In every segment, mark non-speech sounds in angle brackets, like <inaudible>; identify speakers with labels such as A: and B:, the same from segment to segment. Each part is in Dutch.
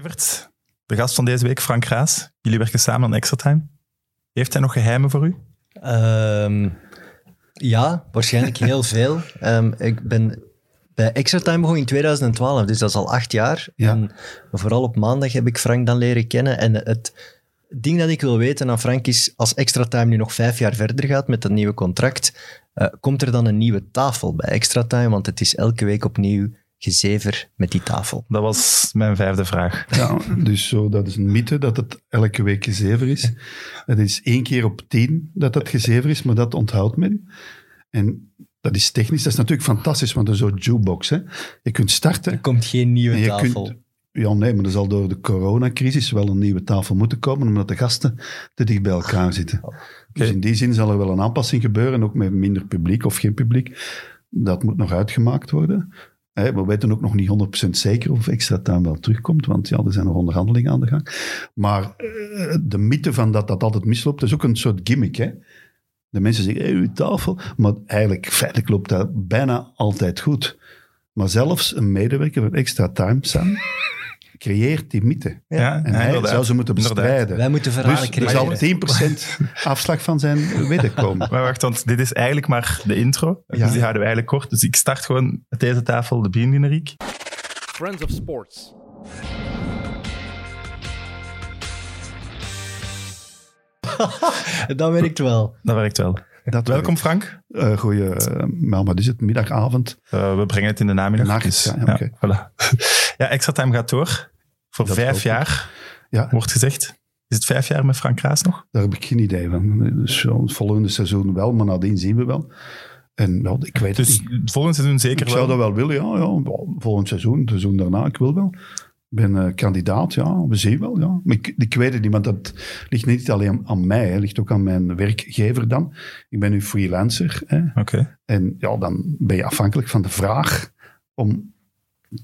A: Evert, de gast van deze week, Frank Raas. Jullie werken samen aan Extra Time. Heeft hij nog geheimen voor u?
B: Ehm, ja, waarschijnlijk
C: <laughs>
B: heel veel. Ehm, ik ben bij Extra Time begonnen in 2012, dus dat is al acht jaar.
C: Ja.
B: En vooral op maandag heb ik Frank dan leren kennen. En het ding dat ik wil weten aan Frank is, als Extra Time nu nog vijf jaar verder gaat met dat nieuwe contract, eh, komt er dan een nieuwe tafel bij Extra Time? Want het is elke week opnieuw gezever met die tafel.
A: Dat was mijn vijfde vraag.
C: Ja, dus zo, dat is een mythe dat het elke week gezever is. Het is één keer op tien dat dat gezever is, maar dat onthoudt men. En dat is technisch, dat is natuurlijk fantastisch, want dat is zo'n jukebox. Hè. Je kunt starten
B: Er komt geen nieuwe
C: en je
B: tafel.
C: kunt... Ja, nee, maar er zal door de coronacrisis wel een nieuwe tafel moeten komen, omdat de gasten te dicht bij elkaar zitten.
B: Ah,
C: Dus in die zin zal er wel een aanpassing gebeuren, ook met minder publiek of geen publiek. Dat moet nog uitgemaakt worden. Hè, We weten ook nog niet 100% zeker of extra time wel terugkomt, want ja, er zijn nog onderhandelingen aan de gang. Maar eh, de mythe van dat dat altijd misloopt, is ook een soort gimmick. Hè? De mensen zeggen, hey, uw tafel. Maar eigenlijk, feitelijk loopt dat bijna altijd goed. Maar zelfs een medewerker van extra time, Sam, creëert die mythe.
A: Ja,
C: En hij
A: inderdaad.
C: zou ze moeten
A: Inderdaad.
C: bestrijden.
B: Wij moeten verhalen
C: Dus er
B: creëren.
C: zal
A: <laughs>
C: 10% afslag van zijn wedden komen.
A: Maar wacht, want dit is eigenlijk maar de intro. Dus die houden we eigenlijk kort. Dus ik start gewoon met deze tafel, de biengeneriek.
D: Friends of Sports.
B: Dat werkt wel.
A: Dat werkt wel.
C: Dat
A: Welkom Frank.
C: eh goeie, eh, nou, wat is het? Middagavond.
A: Eh, we brengen het in de namiddag.
C: De nacht,
A: dus,
C: ja, oké.
A: voilà. <laughs> ja, Extra Time gaat door. Voor
C: Dat hoop
A: vijf
C: ik.
A: jaar,
C: Ja,
A: wordt gezegd. Is het vijf jaar met Frank Raas nog?
C: daar heb ik geen idee van. Dus ja, het volgende seizoen wel, maar nadien zien we wel. En wel, ik weet het
A: Dus
C: niet.
A: volgend seizoen zeker
C: Ik zou dat wel willen, ja. ja. Volgend seizoen, het seizoen daarna, ik wil wel. Ik ben eh, kandidaat, ja. We zien wel, ja. Maar ik, ik weet het niet, want dat ligt niet alleen aan, aan mij. hè. Het ligt ook aan mijn werkgever dan. Ik ben nu freelancer. Hè.
A: Oké.
C: En ja, dan ben je afhankelijk van de vraag om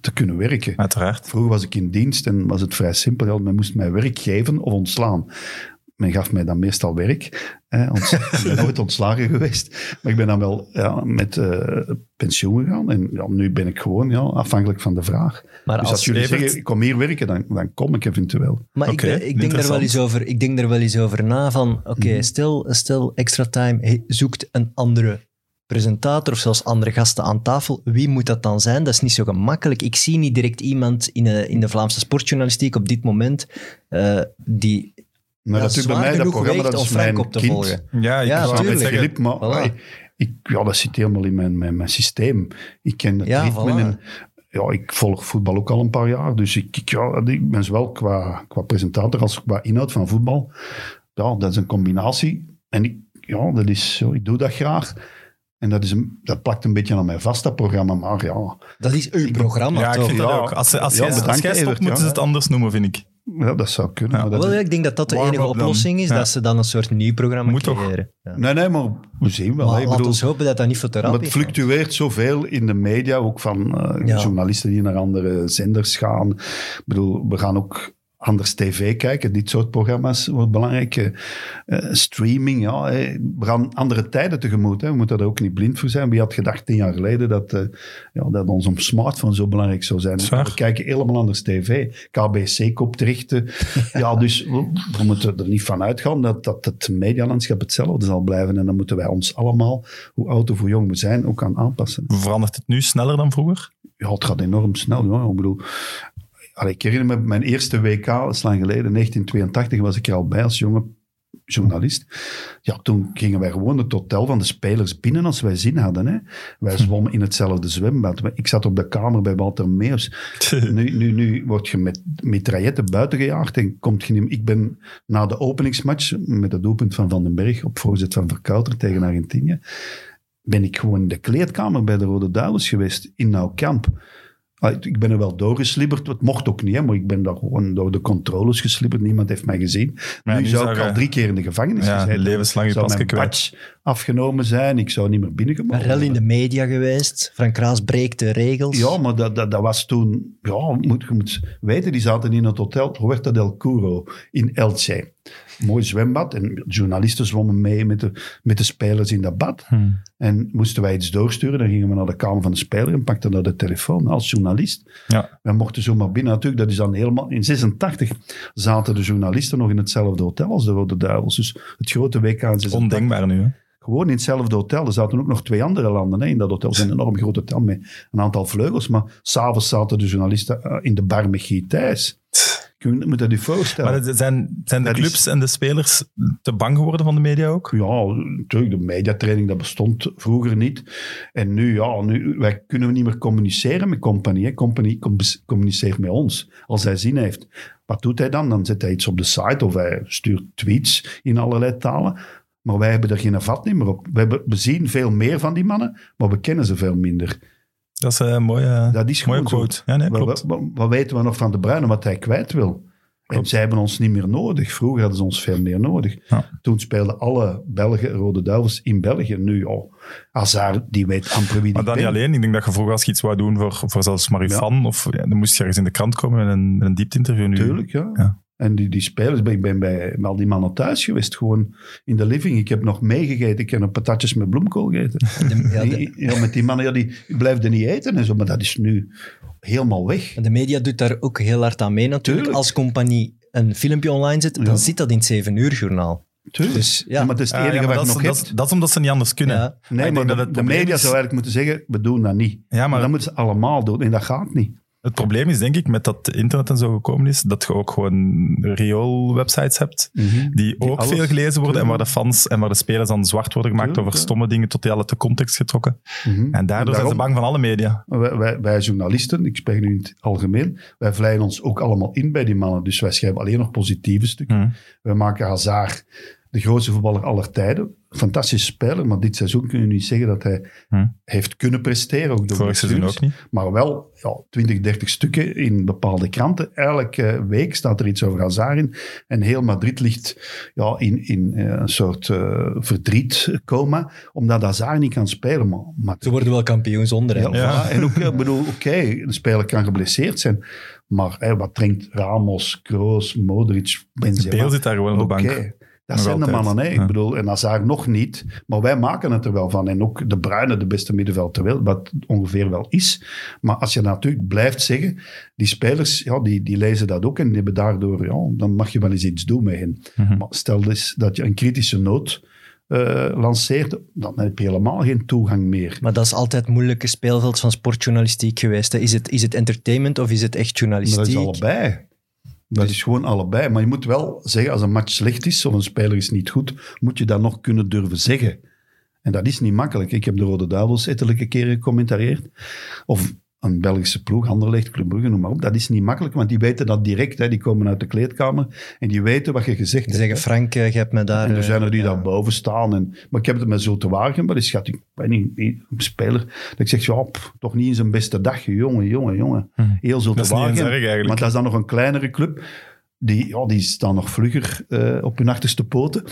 C: te kunnen werken.
A: Uiteraard.
C: Vroeger was ik in dienst en was het vrij simpel. Ja, men moest mij werk geven of ontslaan. Men gaf mij dan meestal werk. Hè,
B: <laughs>
C: ont- ik ben nooit ontslagen geweest. Maar ik ben dan wel ja, met eh, pensioen gegaan. En ja, nu ben ik gewoon ja, afhankelijk van de vraag.
B: Maar
C: dus
B: als
C: als jullie
A: Evert-
C: zeggen, ik kom hier werken, dan, dan kom ik eventueel.
B: Maar
A: Oké,
B: ik, ben- ik, denk daar wel
A: interessant. Mhm.
B: eens over, ik denk daar wel eens over na van, oké, stel, stel Extra Time he- zoekt een andere presentator of zelfs andere gasten aan tafel. Wie moet dat dan zijn? Dat is niet zo gemakkelijk. Ik zie niet direct iemand in de, in de Vlaamse sportjournalistiek op dit moment eh, die
C: Maar
B: Ja,
C: natuurlijk bij
B: zwaar
C: mij dat
B: genoeg
C: programma,
B: weegt
C: dat
B: om
C: is
B: Frank
C: mijn
B: op te
C: kind.
B: volgen.
A: Ja, ik dus-
B: Ja,
A: wou net
B: tuurlijk.
A: zeggen,
C: Filip, maar
B: Voilà.
C: ai, ik, ja, dat zit helemaal in mijn, mijn, mijn systeem. Ik ken het
B: Ja,
C: ritme.
B: voilà.
C: En, ja, ik volg voetbal ook al een paar jaar. Dus ik, ik, ja, ik ben zowel qua, qua presentator als qua inhoud van voetbal. Ja, dat is een combinatie. En ik, ja, dat is, zo, ik doe dat graag. En dat, is een, dat plakt een beetje aan mij vast, dat programma. Maar ja,
B: dat is uw programma,
A: Ja, ik
B: toch?
A: vind dat
C: Ja.
A: ook. Als, als,
C: Ja,
A: jij, als
C: bedankt,
A: jij stopt,
C: Evert,
A: moeten ze
C: ja.
A: het anders noemen, vind ik.
C: ja, dat zou kunnen.
A: Ja.
C: maar dat
B: Wel,
C: is-
B: ik denk dat dat de
A: Warm
B: enige
A: up dan.
B: oplossing is,
A: Ja.
B: dat ze dan een soort nieuw programma
A: Moet toch?
B: creëren. Ja.
C: nee, nee, maar we zien wel. hè.
B: Maar
C: ik
B: laat
C: bedoel,
B: ons hopen dat dat niet voor te rap
C: Maar
B: is.
C: het fluctueert zoveel in de media, ook van eh,
B: Ja.
C: journalisten die naar andere zenders gaan. Ik bedoel, we gaan ook anders tv kijken. Dit soort programma's wordt belangrijk. Eh, eh, streaming, ja. eh, we gaan andere tijden tegemoet. Hè. We moeten daar ook niet blind voor zijn. Wie had gedacht tien jaar geleden dat, eh, ja, dat onze smartphone zo belangrijk zou zijn?
A: Zwaar.
C: We kijken helemaal anders tv. KBC koopt rechten. eh. Ja, dus we, we moeten er niet van uitgaan dat, dat het medialandschap hetzelfde zal blijven. En dan moeten wij ons allemaal, hoe oud of hoe jong we zijn, ook aan aanpassen.
A: Verandert het nu sneller dan vroeger?
C: Ja, het gaat enorm snel. Ja. Ik bedoel, allee, ik herinner me mijn eerste WK, dat is lang geleden, 1982 was ik er al bij als jonge journalist. Ja, toen gingen wij gewoon het hotel van de spelers binnen als wij zin hadden. Hè. Wij zwommen in hetzelfde zwembad. Ik zat op de kamer bij Walter Meers. <laughs> Nu, nu, nu word je met mitrailletten buiten gejaagd en komt je niet... Ik ben na de openingsmatch, met het doelpunt van Van den Berg op voorzet van Verkouter tegen Argentinië, ben ik gewoon in de kleedkamer bij de Rode Duivels geweest, in Nauwkamp. Ah, Ik ben er wel doorgeslibberd, het mocht ook niet, hè, maar ik ben daar gewoon door de controles geslibberd. Niemand heeft mij gezien.
A: Maar ja,
C: nu
A: nu
C: zou
A: zou
C: ik
A: je-
C: al drie keer in de gevangenis
A: Ja,
C: gezeten
A: levenslang je
C: zou
A: pasje
C: mijn
A: kwijt.
C: badge afgenomen zijn, ik zou niet meer
B: Een
C: binnengemogen
B: rel in de
C: worden.
B: media geweest. Frank Raas breekt de regels.
C: Ja, maar dat, dat, dat was toen... Ja, moet, je moet weten, die zaten in het hotel Huerta del Curo in Elche. Mooi zwembad. En journalisten zwommen mee met de, met de spelers in dat bad.
A: Hmm.
C: En moesten wij iets doorsturen, dan gingen we naar de kamer van de speler en pakten daar de telefoon als journalist.
A: Ja.
C: We mochten zomaar binnen natuurlijk, dat is dan helemaal... In 86 zaten de journalisten nog in hetzelfde hotel als de Rode Duivels. Dus het grote WK in 86
A: <laughs> Ondenkbaar nu. Hè?
C: gewoon in hetzelfde hotel. Er zaten ook nog twee andere landen hè, in dat hotel. Het is een enorm groot hotel met een aantal vleugels. Maar s'avonds zaten de journalisten eh, in de bar met Guy Thijs. Kun je moet je dat je voorstellen?
A: Maar het- zijn, zijn de
C: Dat is-
A: clubs en de spelers te bang geworden van de media ook?
C: Ja, natuurlijk, de mediatraining, dat bestond vroeger niet. En nu, ja, nu, wij kunnen niet meer communiceren met Company. Hè. Company com- communiceert met ons, als hij zin heeft. Wat doet hij dan? Dan zet hij iets op de site of hij stuurt tweets in allerlei talen. Maar wij hebben er geen vat niet meer op. We, hebben, we zien veel meer van die mannen, maar we kennen ze veel minder.
A: Dat is eh, een mooie,
C: Dat is
A: mooie
C: gewoon zo.
A: quote. Ja, nee,
C: Wat-
A: klopt.
C: Wat, wat- wat weten we nog van De Bruyne, wat hij kwijt wil? En
A: Klopt.
C: zij hebben ons niet meer nodig. Vroeger hadden ze ons veel meer nodig.
A: Ja.
C: Toen speelden alle Belgen, Rode Duivels, in België. Nu, oh, Hazard, die weet amper wie
A: Maar
C: die
A: dan niet
C: bent.
A: alleen. Ik denk dat je vroeger als je iets wou doen voor, voor zelfs Marifan, of ja, dan moest je ergens in de krant komen met een, met een diepte-interview. Nu-
C: Tuurlijk, ja.
A: Ja.
C: En die, die spelers, ik ben bij al die mannen thuis geweest, gewoon in de living. Ik heb nog meegegeten, ik heb nog patatjes met bloemkool gegeten.
B: De, ja, de,
C: Die- ja, met die mannen, ja, die blijfden niet eten en zo, maar dat is nu helemaal weg.
B: de media doet daar ook heel hard aan mee natuurlijk.
C: Tuurlijk.
B: Als compagnie een filmpje online zet,
C: Ja.
B: dan zit dat in het 7 uur journaal.
C: Tuurlijk.
B: Dus
C: Ja,
B: ja,
C: maar het is het
A: Ah,
C: enige
A: ja, maar
C: wat
A: dat,
C: je
A: is-
C: nog
A: dat,
C: hebt.
A: is- dat is omdat ze niet anders kunnen.
B: ja.
A: Maar
C: Nee,
A: ik
C: maar
A: denk
C: de,
A: dat het
C: de
A: probleem
C: media
A: is-
C: zou eigenlijk moeten zeggen, we doen dat niet.
A: Ja,
C: Maar
A: maar
C: dan moeten ze allemaal doen en dat gaat niet.
A: het probleem is denk ik met dat internet en zo gekomen is, dat je ook gewoon riool-websites hebt. Die, ook
C: alles-
A: veel gelezen worden en waar
C: Tuurlijk.
A: de fans en waar de spelers dan zwart worden gemaakt
C: Tuurlijk,
A: over
C: ja.
A: stomme dingen totaal uit de context getrokken.
C: Mhm.
A: En daardoor zijn ze
C: daarom-
A: bang van alle media.
C: Wij, wij, wij journalisten, ik spreek nu in het algemeen, wij vleien ons ook allemaal in bij die mannen. Dus wij schrijven alleen nog positieve stukken.
A: Hmm.
C: Wij maken Hazard de grootste voetballer aller tijden. Fantastische speler, maar dit seizoen kun je niet zeggen dat hij
A: Hm.
C: heeft kunnen presteren. Ook door
A: Vorig seizoen
C: blessures.
A: ook niet.
C: Maar wel ja, 20, 30 stukken in bepaalde kranten. Elke eh, week staat er iets over Hazard in. En heel Madrid ligt ja, in, in eh, een soort eh, verdrietcoma, omdat Hazard niet kan spelen. Maar, maar
B: ze worden wel kampioen zonder hem.
C: ja,
A: Ja.
C: voilà. En ook, ik bedoel, oké, een speler kan geblesseerd zijn, maar hè, wat drinkt Ramos, Kroos, Modric, Benzema?
A: Beel zit daar gewoon op de
C: Oké,
A: bank.
C: Dat
A: Nog
C: zijn de
A: altijd.
C: mannen, hè.
A: Ja.
C: Ik bedoel, en Hazard nog niet. Maar wij maken het er wel van. En ook de Bruyne, de beste middenveld ter wereld, wat ongeveer wel is. Maar als je natuurlijk blijft zeggen, die spelers, ja, die, die lezen dat ook en die hebben daardoor, ja, dan mag je wel eens iets doen met hen.
A: Mhm.
C: Maar stel dus dat je een kritische noot eh, lanceert, dan heb je helemaal geen toegang meer.
B: Maar dat is altijd het moeilijke speelveld van sportjournalistiek geweest. hè. Is het, is het entertainment of is het echt
C: Maar dat
B: journalistiek? Dus-
C: is allebei. Dat is gewoon allebei. Maar je moet wel zeggen, als een match slecht is of een speler is niet goed, moet je dat nog kunnen durven zeggen. En dat is niet makkelijk. Ik heb de Rode Duivels ettelijke keren gecommentarieerd. Of een Belgische ploeg, Anderlecht, Club Brugge, noem maar op. Dat is niet makkelijk, want die weten dat direct. Hè. Die komen uit de kleedkamer en die weten wat je gezegd
B: Die
C: hebt.
B: zeggen,
C: hè.
B: Frank, eh, je hebt me daar...
C: En dus er
B: eh,
C: zijn er die
B: ja.
C: daar boven staan. En, maar ik heb het met Zulte Waregem wel eens gehad. Ik ben niet, niet een speler. Dat ik zeg, ja, pff, toch niet in zijn beste dag. Jongen, jongen, jongen.
B: Hm.
A: Hmm.
C: Heel Zulte
A: Dat is niet eens
C: Waregem.
A: erg eigenlijk.
C: Maar dat is dan nog een kleinere club. Die, ja, die staan nog vlugger eh, op hun achterste poten.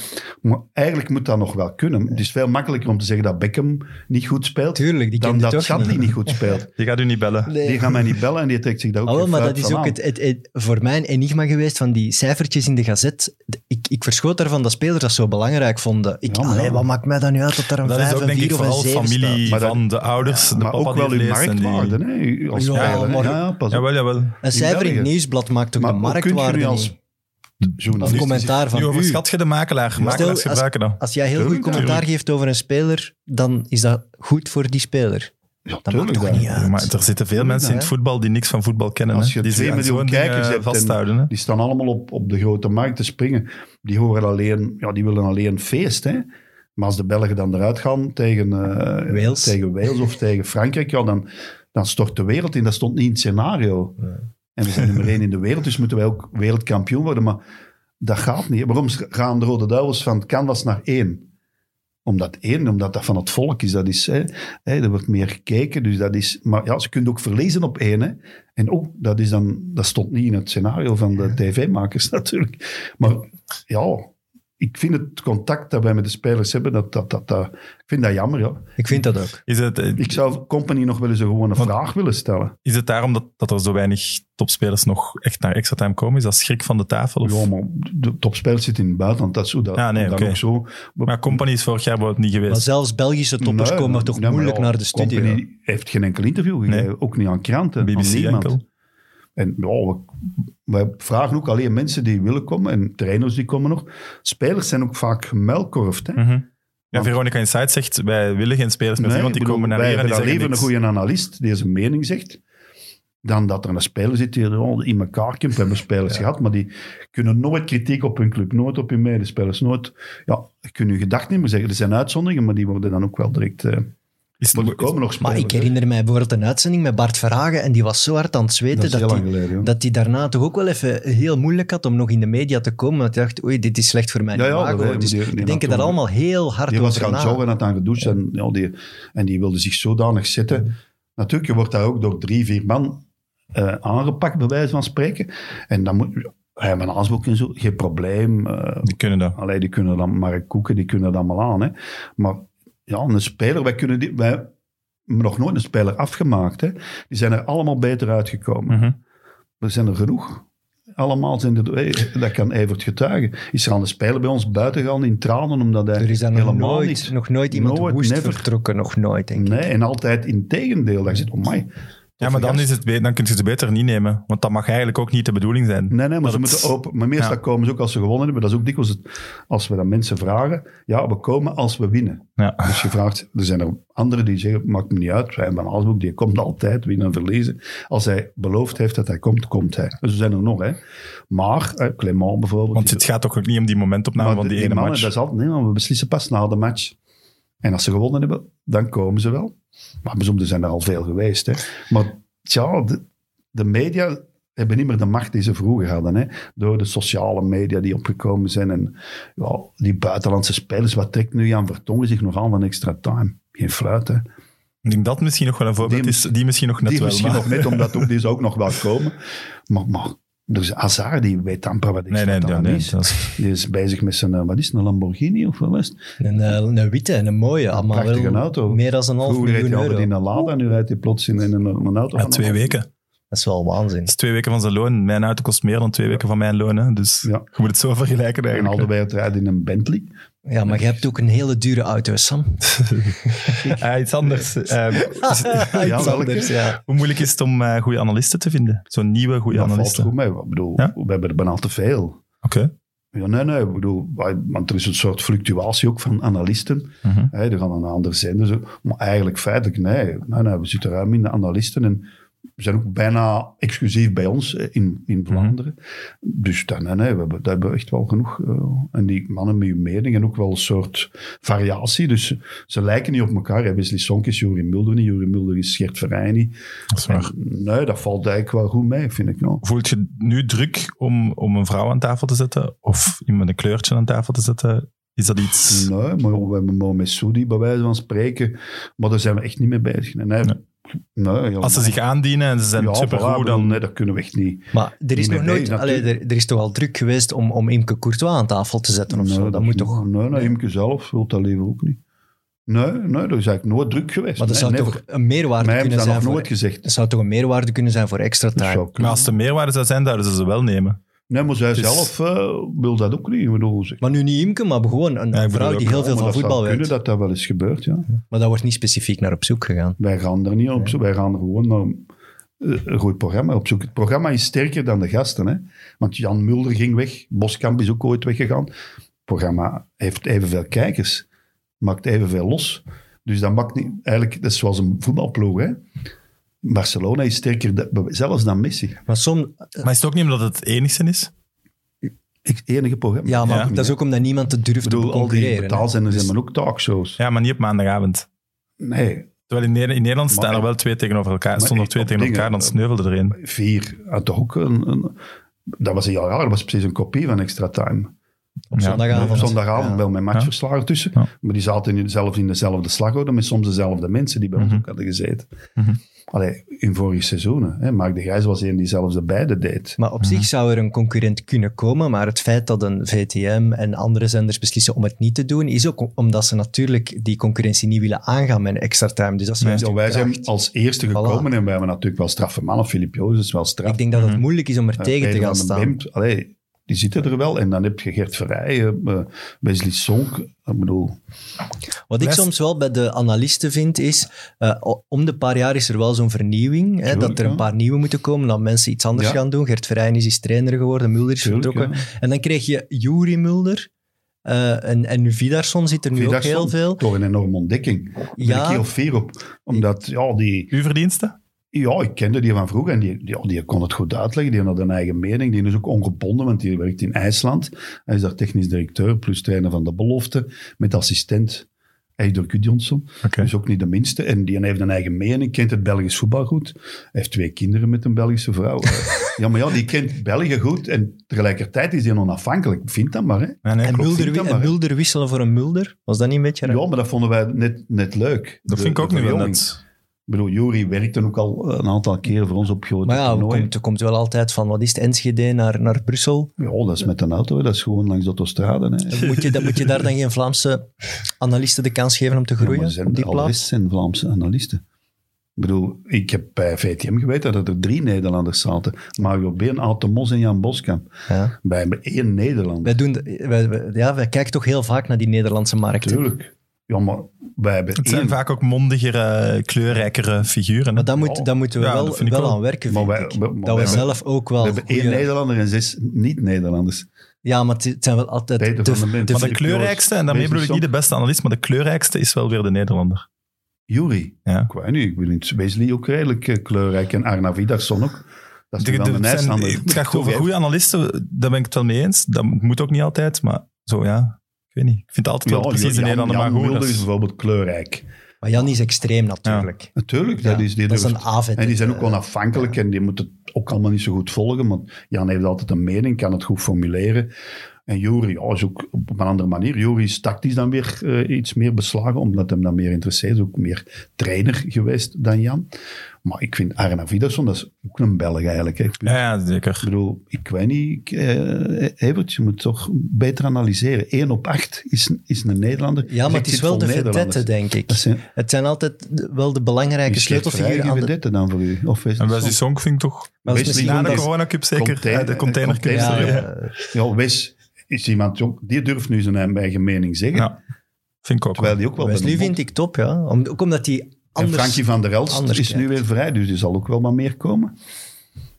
C: Maar eigenlijk moet dat nog wel kunnen. Het is veel makkelijker om te zeggen dat Beckham niet goed speelt.
B: Tuurlijk, die
C: dan
B: kent het
C: dat
B: ook
C: Shatley niet goed speelt.
A: Je gaat u niet bellen.
B: <laughs> Nee.
C: Die gaan mij niet bellen en die trekt zich daar ook
B: Ah, wel,
C: geen
B: maar
C: fluit
B: dat is
C: van
B: ook
C: aan.
B: het, het, het- voor mij een enigma geweest van die cijfertjes in de gazet. De- Ik, ik verschoot daarvan dat spelers dat zo belangrijk vonden. Ik,
C: Ja, maar
B: allee,
C: ja.
B: wat maakt mij dan nu uit dat er een
A: Dat is
B: 5,
A: ook
B: een
A: denk ik
B: 4 of een
A: vooral
B: 7
A: familie
B: staat?
C: Maar dat-
A: van de ouders, de
C: Maar
A: papa
C: ook
A: die
C: wel
A: het
C: uw
A: leest en die-
C: marktwaarde. hè, als
B: Ja,
C: speler, hè.
B: maar-
C: ja, pas op.
A: Jawel, jawel.
B: Een cijfer in het
C: België.
B: nieuwsblad maakt toch
C: Maar
B: de
C: hoe kun je nu
B: marktwaarde
C: als
B: niet? Of
C: Journalist is-
B: commentaar van
A: Nu
B: u.
A: overschat je de makelaar. Makelaars
B: Stel, als-
A: gebruiken dat.
B: Als jij heel goed
C: Tuurlijk,
B: commentaar
C: tuurlijk.
B: geeft over een speler, dan is dat goed voor die speler.
C: Ja,
B: Dat maakt
C: tuurlijk
B: toch
C: wel.
B: niet uit?
A: Maar er zitten veel mensen in het
B: hè?
A: voetbal die niks van voetbal kennen.
C: Als
A: hè.
C: je
A: die
C: twee
A: zich aan
C: miljoen
A: zo'n
C: kijkers
A: dingen
C: hebt en-
A: vasthouden. hè.
C: Die staan allemaal op, op de grote markt te springen. Die horen alleen, ja, die willen alleen feest, hè. Maar als de Belgen dan eruit gaan tegen, eh,
B: Wales.
C: tegen Wales of tegen Frankrijk, ja, dan, dan stort de wereld in. Dat stond niet in het scenario. En we zijn nummer één in de wereld, dus moeten wij ook wereldkampioen worden. Maar dat gaat niet. Waarom gaan de Rode Duivels van het canvas naar één? Omdat één, omdat dat van het volk is. Dat is hè, hè, er wordt meer gekeken. Dus dat is, maar ja, ze kunnen ook verliezen op één. Hè. En ook, dat, is <laughs> dan, dat stond niet in het scenario van de tv-makers natuurlijk. Maar ja, ik vind het contact dat wij met de spelers hebben, dat, dat, dat, dat, ik vind dat jammer. Ja.
B: Ik vind dat ook.
A: Is het,
C: Ik zou Company nog wel eens een gewone
A: Want-
C: vraag willen stellen.
A: is het daarom dat, dat er zo weinig topspelers nog echt naar extra time komen? Is dat schrik van de tafel? Of?
C: Ja, maar de topspelers zitten in het buitenland, dat is zo. Dat,
A: Ja, nee,
C: dan
A: oké.
C: ook zo.
A: Maar Company is vorig jaar bijvoorbeeld niet
B: Maar
A: geweest.
B: zelfs Belgische toppers
C: Nee,
B: komen
C: maar-
B: toch
C: nee, maar
B: moeilijk
C: ja,
B: naar de studio.
C: Company heeft geen enkel interview gegeven,
A: Nee.
C: ook niet aan kranten, aan
A: BBC
C: niemand.
A: enkel.
C: En ja, we, wij vragen ook alleen mensen die willen komen en trainers die komen nog. Spelers zijn ook vaak gemelkorfd. Hè?
A: Mhm. Ja,
C: Want-
A: Veronica Insight zegt, wij willen geen spelers meer zien,
C: Nee,
A: want die
C: ik bedoel,
A: komen naar
C: wij
A: hier en die
C: hebben dan
A: zeggen
C: liever een
A: niks.
C: goede analist die zijn mening zegt, dan dat er een speler zit die er al in elkaar komt. We hebben spelers gehad, maar die kunnen nooit kritiek op hun club, nooit op hun medespelers, nooit... Ja, kunnen hun gedachten niet meer zeggen. Er zijn uitzonderingen, maar die worden dan ook wel direct... eh,
A: Is,
C: want er komen nog spelers.
B: Maar ik
C: hè.
B: herinner mij bijvoorbeeld een uitzending met Bart Verhagen en die was zo hard aan het
C: dat
B: zweten
C: is heel
B: dat
C: lang
B: hij
C: geleden. ja.
B: dat die daarna toch ook wel even heel moeilijk had om nog in de media te komen. Want hij dacht, oei, dit is slecht voor mijn
C: Ja, ja,
B: imago.
C: dat- die-
B: dus
C: die-
B: die,
C: die
B: denken
C: had
B: daar
C: toen-
B: allemaal heel hard
C: Die was
B: over
C: gaan
B: na.
C: joggen, had aan gedoucht en, ja, die, en die wilde zich zodanig zetten. Natuurlijk, je wordt daar ook door drie, vier man eh, aangepakt, bij wijze van spreken. En dan moet... Hij van Asbroek en zo, geen probleem. eh,
A: Die kunnen dat.
C: Allee, die kunnen dan, Mark Koeken, die kunnen dat allemaal aan. Hè. Maar ja, een speler, wij kunnen die, wij hebben nog nooit een speler afgemaakt. Hè. Die zijn er allemaal beter uitgekomen.
A: Mhm.
C: Er zijn er genoeg. Allemaal zijn er, hey, dat kan Evert getuigen. Is er aan de speler bij ons buiten gaan in tranen omdat hij
B: Er is daar nog
C: helemaal
B: nooit,
C: niet.
B: nog nooit iemand
C: Nooit,
B: woest
C: never.
B: vertrokken. Nog nooit, denk ik.
C: Nee, en altijd in tegendeel. Dat je zit, oh my.
A: Ja, maar dan, is het, be- dan kun je ze beter niet nemen. Want dat mag eigenlijk ook niet de bedoeling zijn.
C: Nee, nee, maar
A: Dat
C: ze
A: het-
C: moeten open. Maar meestal
A: Ja.
C: komen ze ook als ze gewonnen hebben. Dat is ook dikwijls het, als we dat mensen vragen. Ja, we komen als we winnen.
A: Ja.
C: Dus je vraagt, er zijn er anderen die zeggen, maakt me niet uit, Ryan van Alsbroek, die komt altijd winnen en verliezen. Als hij beloofd heeft dat hij komt, komt hij. Dus er zijn er nog, hè. Maar, eh, Clément bijvoorbeeld.
A: Want
C: die-
A: het gaat toch ook niet om die momentopname
C: maar
A: van die,
C: die
A: ene
C: mannen,
A: match.
C: Dat is altijd, nee, maar we beslissen pas na de match. En als ze gewonnen hebben, dan komen ze wel. Maar bijzonder zijn er al veel geweest. Hè. Maar tja, de, de media hebben niet meer de macht die ze vroeger hadden. Hè. Door de sociale media die opgekomen zijn. En ja, die buitenlandse spelers, wat trekt nu Jan Vertongen zich nog aan van extra time? Geen fluit, hè.
A: Ik denk dat misschien nog wel een voorbeeld
C: Die-
A: is. Die misschien nog net
C: die
A: wel.
C: misschien
A: maar-
C: nog net, omdat ook, die is ook nog wel komen. Maar, maar dus Hazard, die weet amper wat
A: <laughs> Nee,
C: extra
A: nee, nee.
C: time
A: nee,
C: is.
A: dat is-
C: Die is bezig met zijn, eh, wat is het, een Lamborghini of wat was het?
B: Een, eh, een witte en een mooie. allemaal
C: prachtige
B: wel
C: auto.
B: Meer dan een half
C: Vroeger reed
B: miljoen
C: hij altijd
B: euro.
C: in een Lada, nu rijdt hij plots in, in een, een auto.
A: ja,
C: van
A: twee
C: een-
A: weken. Dat
B: Dat is wel waanzin.
A: is twee weken van zijn loon. Mijn auto kost meer dan twee weken van mijn loon. Hè. Dus
C: Ja.
A: je moet het zo vergelijken
C: En
A: eigenlijk.
C: Alderweireld rijdt in een Bentley.
B: Ja, maar je hebt ook een hele dure auto,
C: <laughs>
B: Sam.
A: <laughs> Ah, iets anders. Ehm, <laughs> is-
B: Iets
C: welke?
B: anders, ja.
A: hoe moeilijk is het om eh, goede analisten te vinden? Zo'n nieuwe goede
C: dat valt
A: analisten.
C: goed mee. Ik bedoel,
A: Ja?
C: we hebben er bijna te veel.
A: Oké.
C: Ja, nee, nee. Ik bedoel, wij- want er is een soort fluctuatie ook van analisten.
A: Mhm.
C: Hè, er gaan een ander zender. zo. Maar eigenlijk feitelijk, nee. nee, nee we zitten ruim in de analisten. En we zijn ook bijna exclusief bij ons eh, in, in Vlaanderen. Dus dan, nee, nee, we hebben, daar hebben we echt wel genoeg. eh, en die mannen met hun mening en ook wel een soort variatie. Dus ze lijken niet op elkaar. Hè. Wesley Sonk is Juri Mulder niet. Juri Mulder is Gert Verheij niet.
A: Dat is waar.
C: En, nee, dat valt eigenlijk wel goed mee, vind ik. Nou.
A: Voelt je nu druk om, om een vrouw aan tafel te zetten? Of iemand een kleurtje aan tafel te zetten? Is dat iets...
C: Nee, maar we hebben Mohamed Soudi bij wijze van spreken. Maar daar zijn we echt niet mee bezig. Nee, nee. nee,
A: Als ze zich aandienen en ze zijn
C: ja, voilà,
A: supergoed,
C: ik bedoel,
A: dan...
C: Nee, dat kunnen we echt niet.
B: Maar er is
C: Niet
B: nog
C: mee
B: nooit...
C: bezig,
B: allee, er, er is toch al druk geweest om, om Imke Courtois aan tafel te zetten of
C: Nee,
B: zo. Dat, moet
C: Nou, is-
B: toch...
C: Nee, nee, Imke zelf wil dat liever ook niet. Nee, nee, dat is eigenlijk nooit druk geweest.
B: Maar dat
C: nee,
B: zou
C: never.
B: toch een meerwaarde
C: Mij hebben
B: kunnen
C: ze dat
B: zijn
C: nog
B: voor...
C: nooit gezegd.
B: Dat zou toch een meerwaarde kunnen zijn voor extra
C: Dat
B: time?
C: zou
A: Maar
C: kunnen.
A: als er meerwaarde zou zijn, zouden ze ze wel nemen.
C: Nee, maar zij
A: Dus-
C: zelf eh, wil dat ook niet. Ik bedoel, zeg,
B: Maar nu niet Imke, maar gewoon een
A: Ja, ik
B: vrouw
A: bedoel
B: die
A: ook-
B: heel veel
C: maar
B: van
C: dat zou
B: voetbal weet.
C: kunnen dat dat wel eens gebeurt, ja.
B: Maar daar wordt niet specifiek naar op zoek gegaan.
C: Wij gaan er niet op zoek. Wij gaan er gewoon naar eh, een goed programma op zoek. Het programma is sterker dan de gasten. Hè? Want Jan Mulder ging weg. Boskamp is ook ooit weggegaan. Het programma heeft evenveel kijkers. Maakt evenveel los. Dus dat maakt niet... Eigenlijk, dat is zoals een voetbalploeg. Hè? Barcelona is sterker da- zelfs dan Messi.
B: Maar soms...
A: Maar is het ook niet omdat het het enigste is?
C: Het enige programma.
B: Ja, maar
A: Ja.
B: dat is ook omdat niemand het durft
C: Ik bedoel,
B: te
C: al die
B: concurreren. Dus-
C: betaalzenders hebben ook talkshows.
A: Ja, maar niet op maandagavond.
C: Nee,
A: Terwijl in, Neder- in Nederland
C: Maar-
A: staan er wel twee tegenover elkaar.
C: Maar
A: Stonden er
C: echt
A: twee
C: op
A: tegen
C: dingen, eh,
A: elkaar, dan sneuvelde er één.
C: vier had toch ook een... een- dat was een jaar raar. Dat was precies een kopie van Extra Time.
B: op
A: Ja,
B: zondagavond.
C: Op zondagavond
B: Ja.
C: wel mijn matchverslagen tussen.
A: Ja. Mhm.
C: Maar die zaten in, zelf in dezelfde slagorde met soms dezelfde mensen die bij ons ook hadden gezeten. Allee, in vorige seizoenen. Hè, Mark de Grijs was een die zelfs de beide deed.
B: Maar op zich zou er een concurrent kunnen komen, maar het feit dat een VTM en andere zenders beslissen om het niet te doen, is ook omdat ze natuurlijk die concurrentie niet willen aangaan met een extra time. Dus dat is
A: Nee.
B: juist
C: Zo,
B: hun
C: wij zijn
B: kracht.
C: als eerste gekomen en wij hebben natuurlijk wel straffe mannen. Filip Joos is wel straf.
B: Ik denk dat het
A: Mhm.
B: moeilijk is om er
C: Eh,
B: tegen te
C: Peter
B: gaan
C: van den
B: staan.
C: Bempt, allee, die zitten er wel. En dan heb je Gert Verrijen, eh, Wesley Sonk. Ik bedoel,
B: Wat ik
A: Best-
B: soms wel bij de analisten vind, is eh, o- om de paar jaar is er wel zo'n vernieuwing. Hè,
C: Tuurlijk,
B: dat er een
C: ja.
B: paar nieuwe moeten komen, dat mensen iets anders
C: Ja.
B: gaan doen. Gert Verheyen is eens trainer geworden, Mulder is
C: tuurlijk,
B: vertrokken.
C: hè.
B: En dan kreeg je Juri Mulder. eh, en, en Vidarsson zit er nu
C: Vidarsson,
B: ook heel veel.
C: Toch een enorme ontdekking. Daar ben
B: Ja.
C: ik heel fier op. Omdat, ja, die...
A: Uw verdiensten?
C: Ja, ik kende die van vroeger en die, ja, die kon het goed uitleggen. Die had een eigen mening. Die is ook ongebonden, want die werkt in IJsland. Hij is daar technisch directeur, plus trainer van de belofte, met assistent Eidur Gudjonsson.
A: Oké.
C: Dus ook niet de minste. En die heeft een eigen mening, kent het Belgisch voetbal goed. Hij heeft twee kinderen met een Belgische vrouw.
A: <laughs>
C: ja, maar ja, die kent België goed en tegelijkertijd is hij onafhankelijk. Vind dat maar, hè.
A: Nee, nee,
B: En
A: klopt.
B: Mulder,
C: Mulder- vind
B: wi-
C: dat
B: en
C: maar, hè.
B: Mulder wisselen voor een Mulder? Was dat niet een beetje raar?
C: Ja, maar dat vonden wij net, net leuk.
A: Dat
C: De-
A: vind ik ook
C: de
A: nu wel
C: verjonging.
A: net.
C: Ik bedoel, Jury werkte ook al een aantal keren voor ons op grote
B: maar ja, er
C: toernooien.
B: komt, er komt wel altijd van, wat is het, Enschede naar, naar Brussel?
C: Ja, dat is met een auto, hè. dat is gewoon langs de autostrade. Hè.
B: Moet je, dat, moet je daar dan geen Vlaamse analisten de kans geven om te
C: <laughs> Ja, maar
B: groeien
C: er zijn
B: op die
C: al de
B: plaats?
C: rest zijn Vlaamse analisten. Ik bedoel, ik heb bij VTM geweten dat er drie Nederlanders zaten. Mario Been, Aad de Mos en Jan Boskamp.
B: Ja.
C: Bij één Nederlander.
B: Wij, doen, de- wij, wij- ja, wij kijken toch heel vaak naar die Nederlandse markt.
C: Tuurlijk. Ja, maar wij hebben
A: Het zijn
C: één.
A: vaak ook mondigere, kleurrijkere figuren. hè?
B: Maar daar moet, daar moeten we
A: Ja, dat
B: wel,
A: vind ik
B: wel,
A: wel.
B: aan werken,
C: Maar
B: vind
C: wij-
B: ik.
C: maar
B: dat we
C: wij-
B: zelf ook
C: we
B: wel...
C: hebben één
B: goeie-
C: Nederlander en zes niet-Nederlanders.
B: ja, maar het- het zijn wel altijd...
C: Peter
B: de-
C: van den Bent.
B: de-
C: Maar
A: Maar de
C: Filip
A: kleurrijkste,
C: Joos,
A: en daarmee bedoel ik
C: Wesley
A: niet de beste analist, maar de kleurrijkste is wel weer de Nederlander.
C: Jury.
A: Ja.
C: Ik weet niet, ik ben in Wesley ook redelijk eh, kleurrijk. En Arna Vidarsson ook. Dat is
A: De-
C: toch
A: de-
C: wel een
A: zijn-
C: IJslander.
A: het
C: <laughs>
A: gaat over
C: Toegeven.
A: goede analisten, daar ben ik het wel mee eens. Dat moet ook niet altijd, maar zo ja, ik weet niet. Ik vind het altijd wel
C: Ja,
A: precies de
C: Jan-
A: Nederlander, maar
C: Jan
A: goed. dat
C: Mulder
A: is-
C: is bijvoorbeeld kleurrijk.
B: maar Jan is extreem natuurlijk.
C: Natuurlijk, dat
B: Ja,
C: is die
B: dat is
C: durft.
B: een avond.
C: En die zijn ook onafhankelijk en die moeten het ook allemaal niet zo goed volgen. Want Jan heeft altijd een mening, kan het goed formuleren. En Jury ja, is ook op een andere manier. Jury is tactisch dan weer eh, iets meer beslagen, omdat hem dan meer interesseert. Is ook meer trainer geweest dan Jan. Maar ik vind Arna Vidarsson, dat is ook een Belg eigenlijk. hè. Ik bedoel,
A: Ja, ja, zeker.
C: ik bedoel, ik weet niet, ik, eh, Evert, je moet toch beter analyseren. 1 op 8 is, is een Nederlander.
B: Ja, maar
C: Zegt
B: het is
C: dit
B: wel
C: vol
B: de
C: Nederlanders.
B: vedette, denk ik.
C: Dat zijn,
B: Het zijn altijd de- wel de belangrijke
C: die
B: sleutelfiguren aan de...
C: vedette dan voor u? Of
A: En
C: Wesley
A: Wesley
C: Sonk?
A: Song vind ik toch...
B: Maar dat is
C: Wesley
B: misschien
A: Na de
B: omdat-
A: Corona
C: Nederlander-
A: Cup zeker,
C: Container-
A: eh, de Container Cup.
C: container-
B: Ja,
A: sorry. Ja,
B: ja.
C: Ja, Wes is iemand ook, die durft nu zijn eigen mening zeggen.
A: Ja. vind ik ook.
C: Terwijl die ook wel bij
B: Wesley
C: de
B: vind
C: bond-
B: ik top, ja. Om- ook omdat hij
C: En
B: anders...
C: Frankie van der Elst
B: anders
C: is nu
B: kijkt.
C: weer vrij, dus die zal ook wel wat meer komen.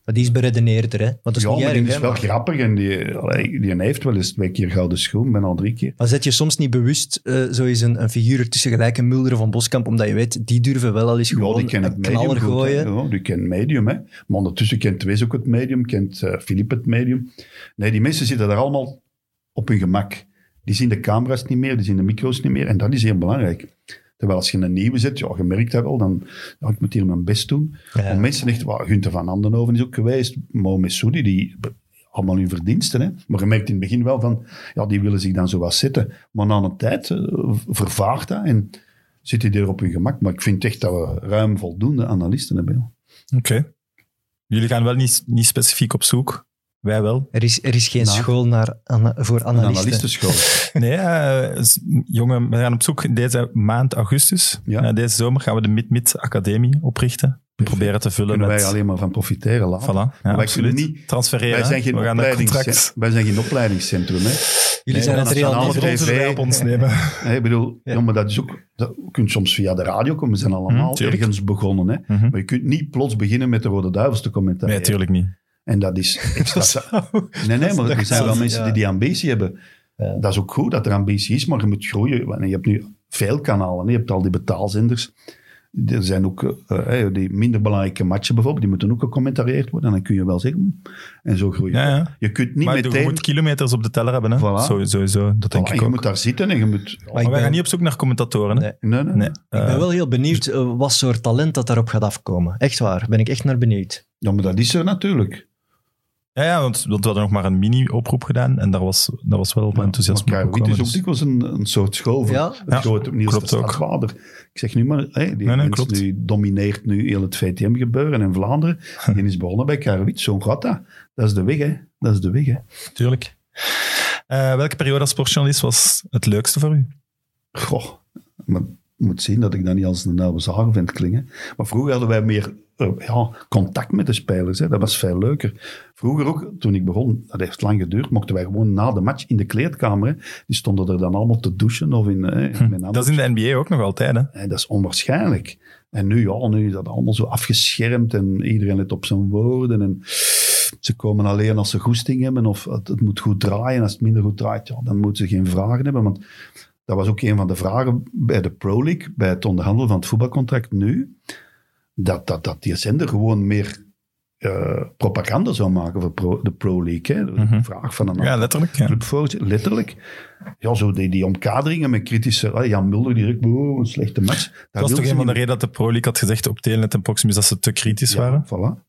B: Maar die is beredeneerder, hè. Want dat is
C: ja,
B: niet
C: maar
B: erg,
C: die is
B: hè.
C: wel
B: Maar,
C: grappig en die, allee, die heeft wel eens twee keer gouden schoen, ben al drie keer.
B: maar zet je soms niet bewust eh, zo eens een, een figuur ertussen, gelijk een Mulder van Boskamp, omdat je weet, die durven wel al eens
C: Ja, die
B: gewoon
C: kent het
B: een
C: medium
B: knaller
C: goed, hè.
B: gooien.
C: Ja, die kent medium, hè. Maar ondertussen kent Wes ook het medium, kent eh Filip het medium. Nee, die mensen zitten daar allemaal op hun gemak. Die zien de camera's niet meer, die zien de micro's niet meer. En dat is heel belangrijk. Terwijl als je een nieuwe zet, ja, je merkt dat wel, dan ja, ik moet hier mijn best doen.
B: Ja.
C: Om mensen echt, waar Gunther van Andenhoven is ook geweest, Mo Messoudi, die allemaal hun verdiensten. Hè. Maar je merkt in het begin wel van, ja, die willen zich dan zo wat zetten. Maar na een tijd eh, vervaagt dat en zit die er op hun gemak. Maar ik vind echt dat we ruim voldoende analisten hebben.
A: Oké. Jullie gaan wel niet, niet specifiek op zoek. Wij wel.
B: Er is, er is geen
C: Nou.
B: school naar, ana- voor
C: Een
B: analisten.
C: analistenschool.
A: Nee, eh, s- jongen, we gaan op zoek deze maand augustus.
C: Ja.
A: Eh, deze zomer gaan we de Mid-Mid Academie oprichten. We proberen te vullen
C: Kunnen
A: met...
C: wij alleen maar van profiteren later.
A: Voilà. Ja,
C: wij
A: absoluut.
C: kunnen niet-
A: Transfereren.
C: Wij zijn, geen
A: we gaan een contract...
C: opleidingscentrum, wij zijn geen opleidingscentrum. Hè.
B: Jullie zijn het
C: maar dat zijn
B: Real
C: allemaal
B: Madrid.
C: TV.
A: Sponsors wij op ons
C: <laughs>
A: nemen.
C: Hè, Ik bedoel, ja.
B: Ja.
C: maar dat is ook... Dat, je kunt soms via de radio komen. We zijn
A: Hm,
C: allemaal
A: tuurlijk.
C: ergens begonnen. Hè.
A: Mhm.
C: Maar je kunt niet plots beginnen met de Rode Duivels te commentaren.
A: Nee, tuurlijk niet.
C: En dat is
A: <laughs>
C: extra... <laughs> Nee, nee, maar er zijn wel
B: Ja.
C: mensen die die ambitie hebben.
B: Ja.
C: Dat is ook goed dat er ambitie is, maar je moet groeien. Want je hebt nu veel kanalen. hè. Je hebt al die betaalzenders. Er zijn ook eh, eh, die minder belangrijke matchen bijvoorbeeld, die moeten ook gecommentarieerd worden. En dan kun je wel zeggen, "Hm." en zo groeien.
A: Ja, ja.
C: Je kunt niet
A: maar je
C: meteen...
A: moet kilometers op de teller hebben. Hè?
C: Voilà.
A: Zo- Sowieso, dat denk
C: Voilà,
A: ik
C: je
A: ook.
C: moet daar zitten en je moet...
B: Maar ik
A: Maar wij
B: ben-
A: gaan niet op zoek naar commentatoren. Hè?
B: Nee.
C: Nee, nee.
A: Nee.
B: Ik
A: Eh,
B: ben wel heel benieuwd eh, wat soort talent dat daarop gaat afkomen. Echt waar, ben ik echt naar benieuwd.
C: Ja, maar dat is er natuurlijk.
A: Ja, ja want, want we hadden nog maar een mini-oproep gedaan en daar was, daar was wel wat enthousiasme
C: Maar
A: op gekomen,
C: Kruijwiet is ook
A: dus-
C: dikwijls een, een soort school voor
B: Ja.
C: het
A: Ja,
C: grote Niels
A: klopt
C: de
A: ook.
C: Stadvader. Ik zeg nu maar, hè, die
A: nee,
C: mens
A: klopt.
C: die domineert nu heel het VTM-gebeuren
A: <laughs>
C: in Vlaanderen. Die is begonnen bij Karwit, zo'n gat dat. Dat is de weg, hè. Dat is de weg, hè.
A: Tuurlijk. Eh, welke periode als sportjournalist was het leukste voor u?
C: Goh, maar ik moet zien dat ik dat niet als een oude zagen vind klinken. Maar vroeger hadden wij meer eh, ja, contact met de spelers. Hè. Dat was veel leuker. Vroeger ook, toen ik begon, dat heeft lang geduurd, mochten wij gewoon na de match in de kleedkamer. hè. Die stonden er dan allemaal te douchen of in, hè, in mijn
A: Hm, Dat is in de NBA ook nog altijd, hè?
C: Hè, dat is onwaarschijnlijk. En nu, ja, nu is dat allemaal zo afgeschermd en iedereen let op zijn woorden. En ze komen alleen als ze goesting hebben of het, het moet goed draaien. Als het minder goed draait, ja, dan moeten ze geen vragen hebben. Want dat was ook een van de vragen bij de Pro League, bij het onderhandelen van het voetbalcontract nu. Dat, dat, dat die zender gewoon meer eh, propaganda zou maken voor pro- de Pro League. Hè.
A: Mhm.
C: Vraag van een
A: Ja, letterlijk. Ja.
C: clubvoorzitter, letterlijk. Ja, zo die, die omkaderingen met kritische... Ah, Jan Mulder direct, wow, een slechte match. Dat
A: Dat was
C: wil
A: toch
C: ze
A: een van de
C: niet.
A: redenen dat de Pro League had gezegd op Telenet en Proximus dat ze te kritisch waren?
C: Ja, voilà.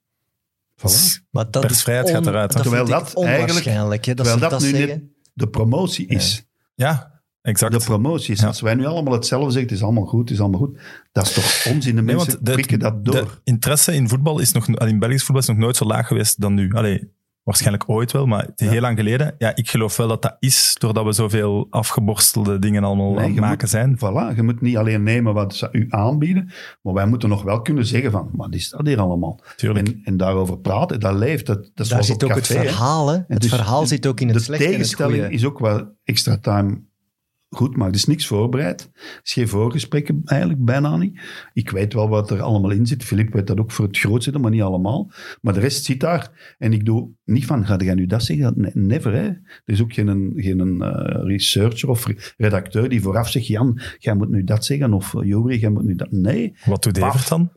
C: voilà.
B: Maar dat
A: Persvrijheid
B: is
A: gaat eruit, hè.
B: Dat
C: Terwijl
B: vind ik
C: dat eigenlijk-
B: onwaarschijnlijk. Hè, dat
C: Terwijl
B: ze
C: dat,
B: dat
C: nu
B: zeggen.
C: net de promotie is.
A: Ja, exact.
C: De promotie is.
A: Ja.
C: Als wij nu allemaal hetzelfde zeggen, het is allemaal goed, het is allemaal goed. Dat is toch onzin? De
A: Nee,
C: mensen
A: de-
C: prikken dat door.
A: de interesse in voetbal is nog, in Belgisch voetbal is nog nooit zo laag geweest dan nu. Allee, waarschijnlijk ooit wel, maar het is heel lang geleden. Ja, ik geloof wel dat dat is doordat we zoveel afgeborstelde dingen allemaal
C: Nee,
A: aan het
C: je
A: maken
C: moet-
A: zijn.
C: Voilà, je moet niet alleen nemen wat ze u aanbieden, maar wij moeten nog wel kunnen zeggen van, wat is dat hier allemaal?
A: Tuurlijk.
C: En, en daarover praten, dat leeft. Dat, dat is
B: Daar
C: zoals
B: zit
C: op
B: ook het
C: café, hè.
B: verhaal. Hè. Het
C: dus-
B: verhaal zit ook in het
C: De
B: slechte en het goede.
C: tegenstelling is ook wel extra time goed, maar er is niks voorbereid. Er is geen voorgesprekken eigenlijk, bijna niet. Ik weet wel wat er allemaal in zit. Filip weet dat ook voor het grootste, maar niet allemaal. Maar de rest zit daar. En ik doe niet van, ga jij nu dat zeggen? Nee, Never, hè. Er is ook geen, geen eh, researcher of re- redacteur die vooraf zegt, Jan, jij moet nu dat zeggen, of eh, Jori, jij moet nu dat... Nee.
A: Wat doet
C: Paf.
A: Evert dan?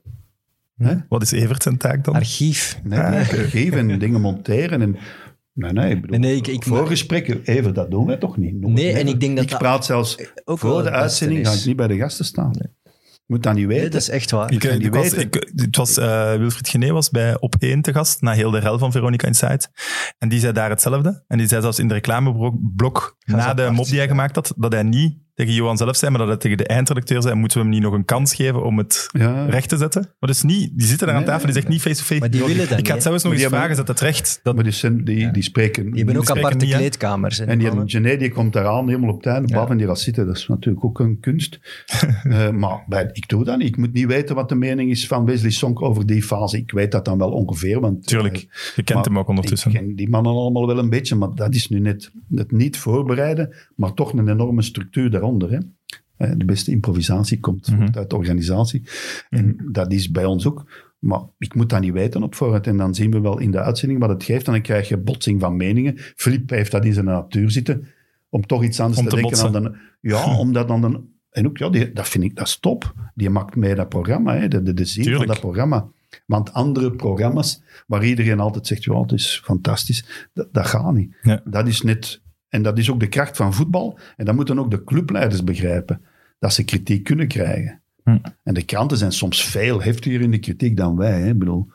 C: Hè?
A: Wat is Evert zijn taak dan?
B: Archief.
C: Nee, nee,
B: <laughs>
C: geven en dingen monteren en... Nee, nee, ik bedoel,
B: Nee, nee, ik- ik-
C: voorgesprekken, even, dat doen wij toch niet? Noem
B: Nee,
C: het
B: en
C: never.
B: ik denk dat
C: Ik
B: dat
C: praat zelfs
B: Ook wel
C: voor de
B: het beste
C: uitzending, ga
B: is.
C: ik niet bij de gasten staan. Ik moet dat niet weten.
B: Nee, dat is echt waar.
A: Ik,
C: kan
A: eh,
C: niet
A: ik was,
C: weten.
A: ik- het was, eh, Wilfried Gené was bij Op 1 te gast, na heel de rel van Veronica Insight. En die zei daar hetzelfde. En die zei zelfs in de reclameblok,
B: Ga
A: na
B: ze
A: de
B: apart.
A: mop die hij gemaakt had, dat hij niet tegen Johan zelf zei, maar dat hij tegen de eindredacteur zei, moeten we hem niet nog een kans geven om het
C: Ja.
A: recht te zetten? Maar dus niet, die zitten daar aan
C: Nee,
A: tafel, die zegt niet face-to-face.
B: Maar die
A: Ik
B: willen dat
A: ga het
B: niet. hè.
A: zelfs nog
C: Maar
A: eens
C: die
A: vragen,
C: hebben-
A: zet het recht? Dat,
C: Maar die, zijn- die, die spreken...
B: Die hebben ook
A: spreken
B: aparte
A: niet, hè.
B: kleedkamers. hè.
C: en die
B: Mannen.
C: Gené die komt eraan, helemaal op tijd,
A: Ja.
C: baf, en die gaat zitten. Dat is natuurlijk ook een
B: <laughs>
C: kunst. Eh, maar bij- ik doe dat niet. Ik moet niet weten wat de mening is van Wesley Sonk over die fase. Ik weet dat dan wel ongeveer, want...
A: tuurlijk,
C: eh,
A: je kent
C: maar
A: hem ook ondertussen.
C: Ik ken die mannen allemaal wel een beetje, maar dat is nu net het niet voorbereiden, maar toch een enorme structuur daaronder. Hè. Eh, De beste improvisatie komt
A: Mhm.
C: voort uit de organisatie. En dat is bij ons ook. Maar ik moet dat niet weten op voorhand. En dan zien we wel in de uitzending wat het geeft. En dan krijg je botsing van meningen. Filip heeft dat in zijn natuur zitten. Om toch iets anders
A: Om
C: te,
A: te
C: denken dan de... Ja, omdat dan de... En ook, ja, die- dat vind ik, dat is top. Die maakt mee dat programma, hè, de, de, de zin
A: Tuurlijk.
C: van dat programma. Want andere programma's, waar iedereen altijd zegt, ja, het is fantastisch, dat, dat gaat niet.
A: Ja.
C: Dat is net... En dat is ook de kracht van voetbal. En dat moeten ook de clubleiders begrijpen. Dat ze kritiek kunnen krijgen.
A: Hm.
C: En de kranten zijn soms veel heftiger in de kritiek dan wij. Hè? Ik bedoel,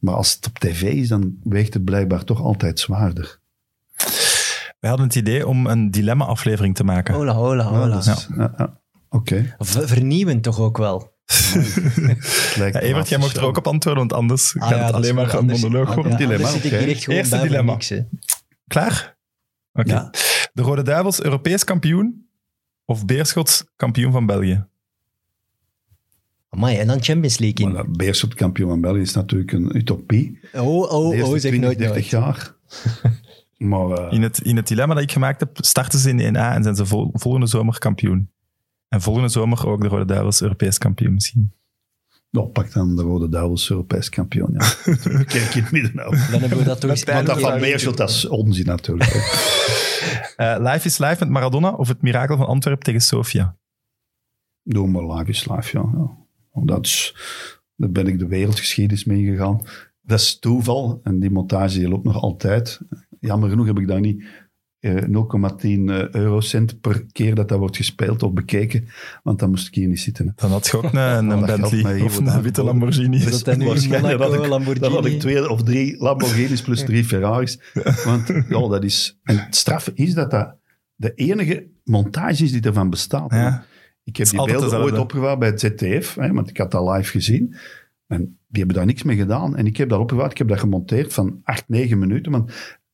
C: maar als het op tv is, dan weegt het blijkbaar toch altijd zwaarder.
A: We hadden het idee om een dilemma-aflevering te maken.
B: Hola, hola,
C: Ja,
B: hola.
C: dat is- ja, ja. Oké.
B: Ver- dus Vernieuwend toch ook wel.
C: Het
A: <laughs>
C: lijkt
A: Ja,
C: me
A: Evert, jij
C: laatst
A: mocht er
C: zo.
A: ook op antwoorden, want anders
B: Ah
A: gaat
B: ja,
A: het
B: dat is
A: alleen maar
B: goed.
A: een
B: Anders- ah,
A: monoloog worden.
B: ja,
C: dilemma,
B: anders zit ik
C: oké.
B: hier echt gewoon
A: Eerste
B: bij voor
A: dilemma.
B: niks, hè.
A: Klaar? Oké.
B: Ja.
A: De Rode Duivels Europees kampioen of Beerschot kampioen van België?
B: Amai, en dan Champions League
C: Maar
B: in.
C: dat Beerschot kampioen van België is natuurlijk een utopie.
B: Oh,
C: De
B: oh,
C: eerste
B: oh, zeg
C: 20,
B: nooit
C: 30
B: nooit. <laughs>
C: jaar. Maar eh,
A: In het, in het dilemma dat ik gemaakt heb, starten ze in de 1A en zijn ze vol- volgende zomer kampioen. En volgende zomer ook de Rode Duivels Europees kampioen misschien.
C: nou, pak dan de Rode Duivels Europees kampioen. Ja. <laughs> Kijk in het midden nou.
B: Dan hebben we
C: <laughs>
B: dat toch eens
C: Want dat
B: één keer-
C: van Beerschot, dat is onzin natuurlijk. hè.
A: Eh, live is live met Maradona of het mirakel van Antwerpen tegen Sofia?
C: Doe maar live is live, ja. ja. Want Dat is, daar ben ik de wereldgeschiedenis mee gegaan. Dat is toeval en die montage die loopt nog altijd. Jammer genoeg heb ik daar niet eh, 0,10 eh, eurocent per keer dat dat wordt gespeeld of bekeken. Want dan moest ik hier niet zitten. hè.
A: Dan had je ook een, een,
C: dat geldt mij
A: Bentley
C: hier
A: of
C: voor de
A: een witte
C: handbal.
A: Lamborghini.
B: Dat hij nu in
C: Waarschijnlijk
B: Monaco,
C: had ik- Dan
B: Oh Lamborghini...
C: had ik twee of drie Lamborghinis plus drie Ferraris. Want ja, dat is... En het straffe is dat dat de enige montage is die ervan bestaat. hè.
A: Ja.
C: Ik heb
A: is
C: die
A: altijd
C: beelden
A: dezelfde.
C: ooit opgewaard bij het ZTF, hè, want ik had dat live gezien. En die hebben daar niks mee gedaan. En ik heb dat opgewaard, ik heb dat gemonteerd van 8, 9 minuten. Want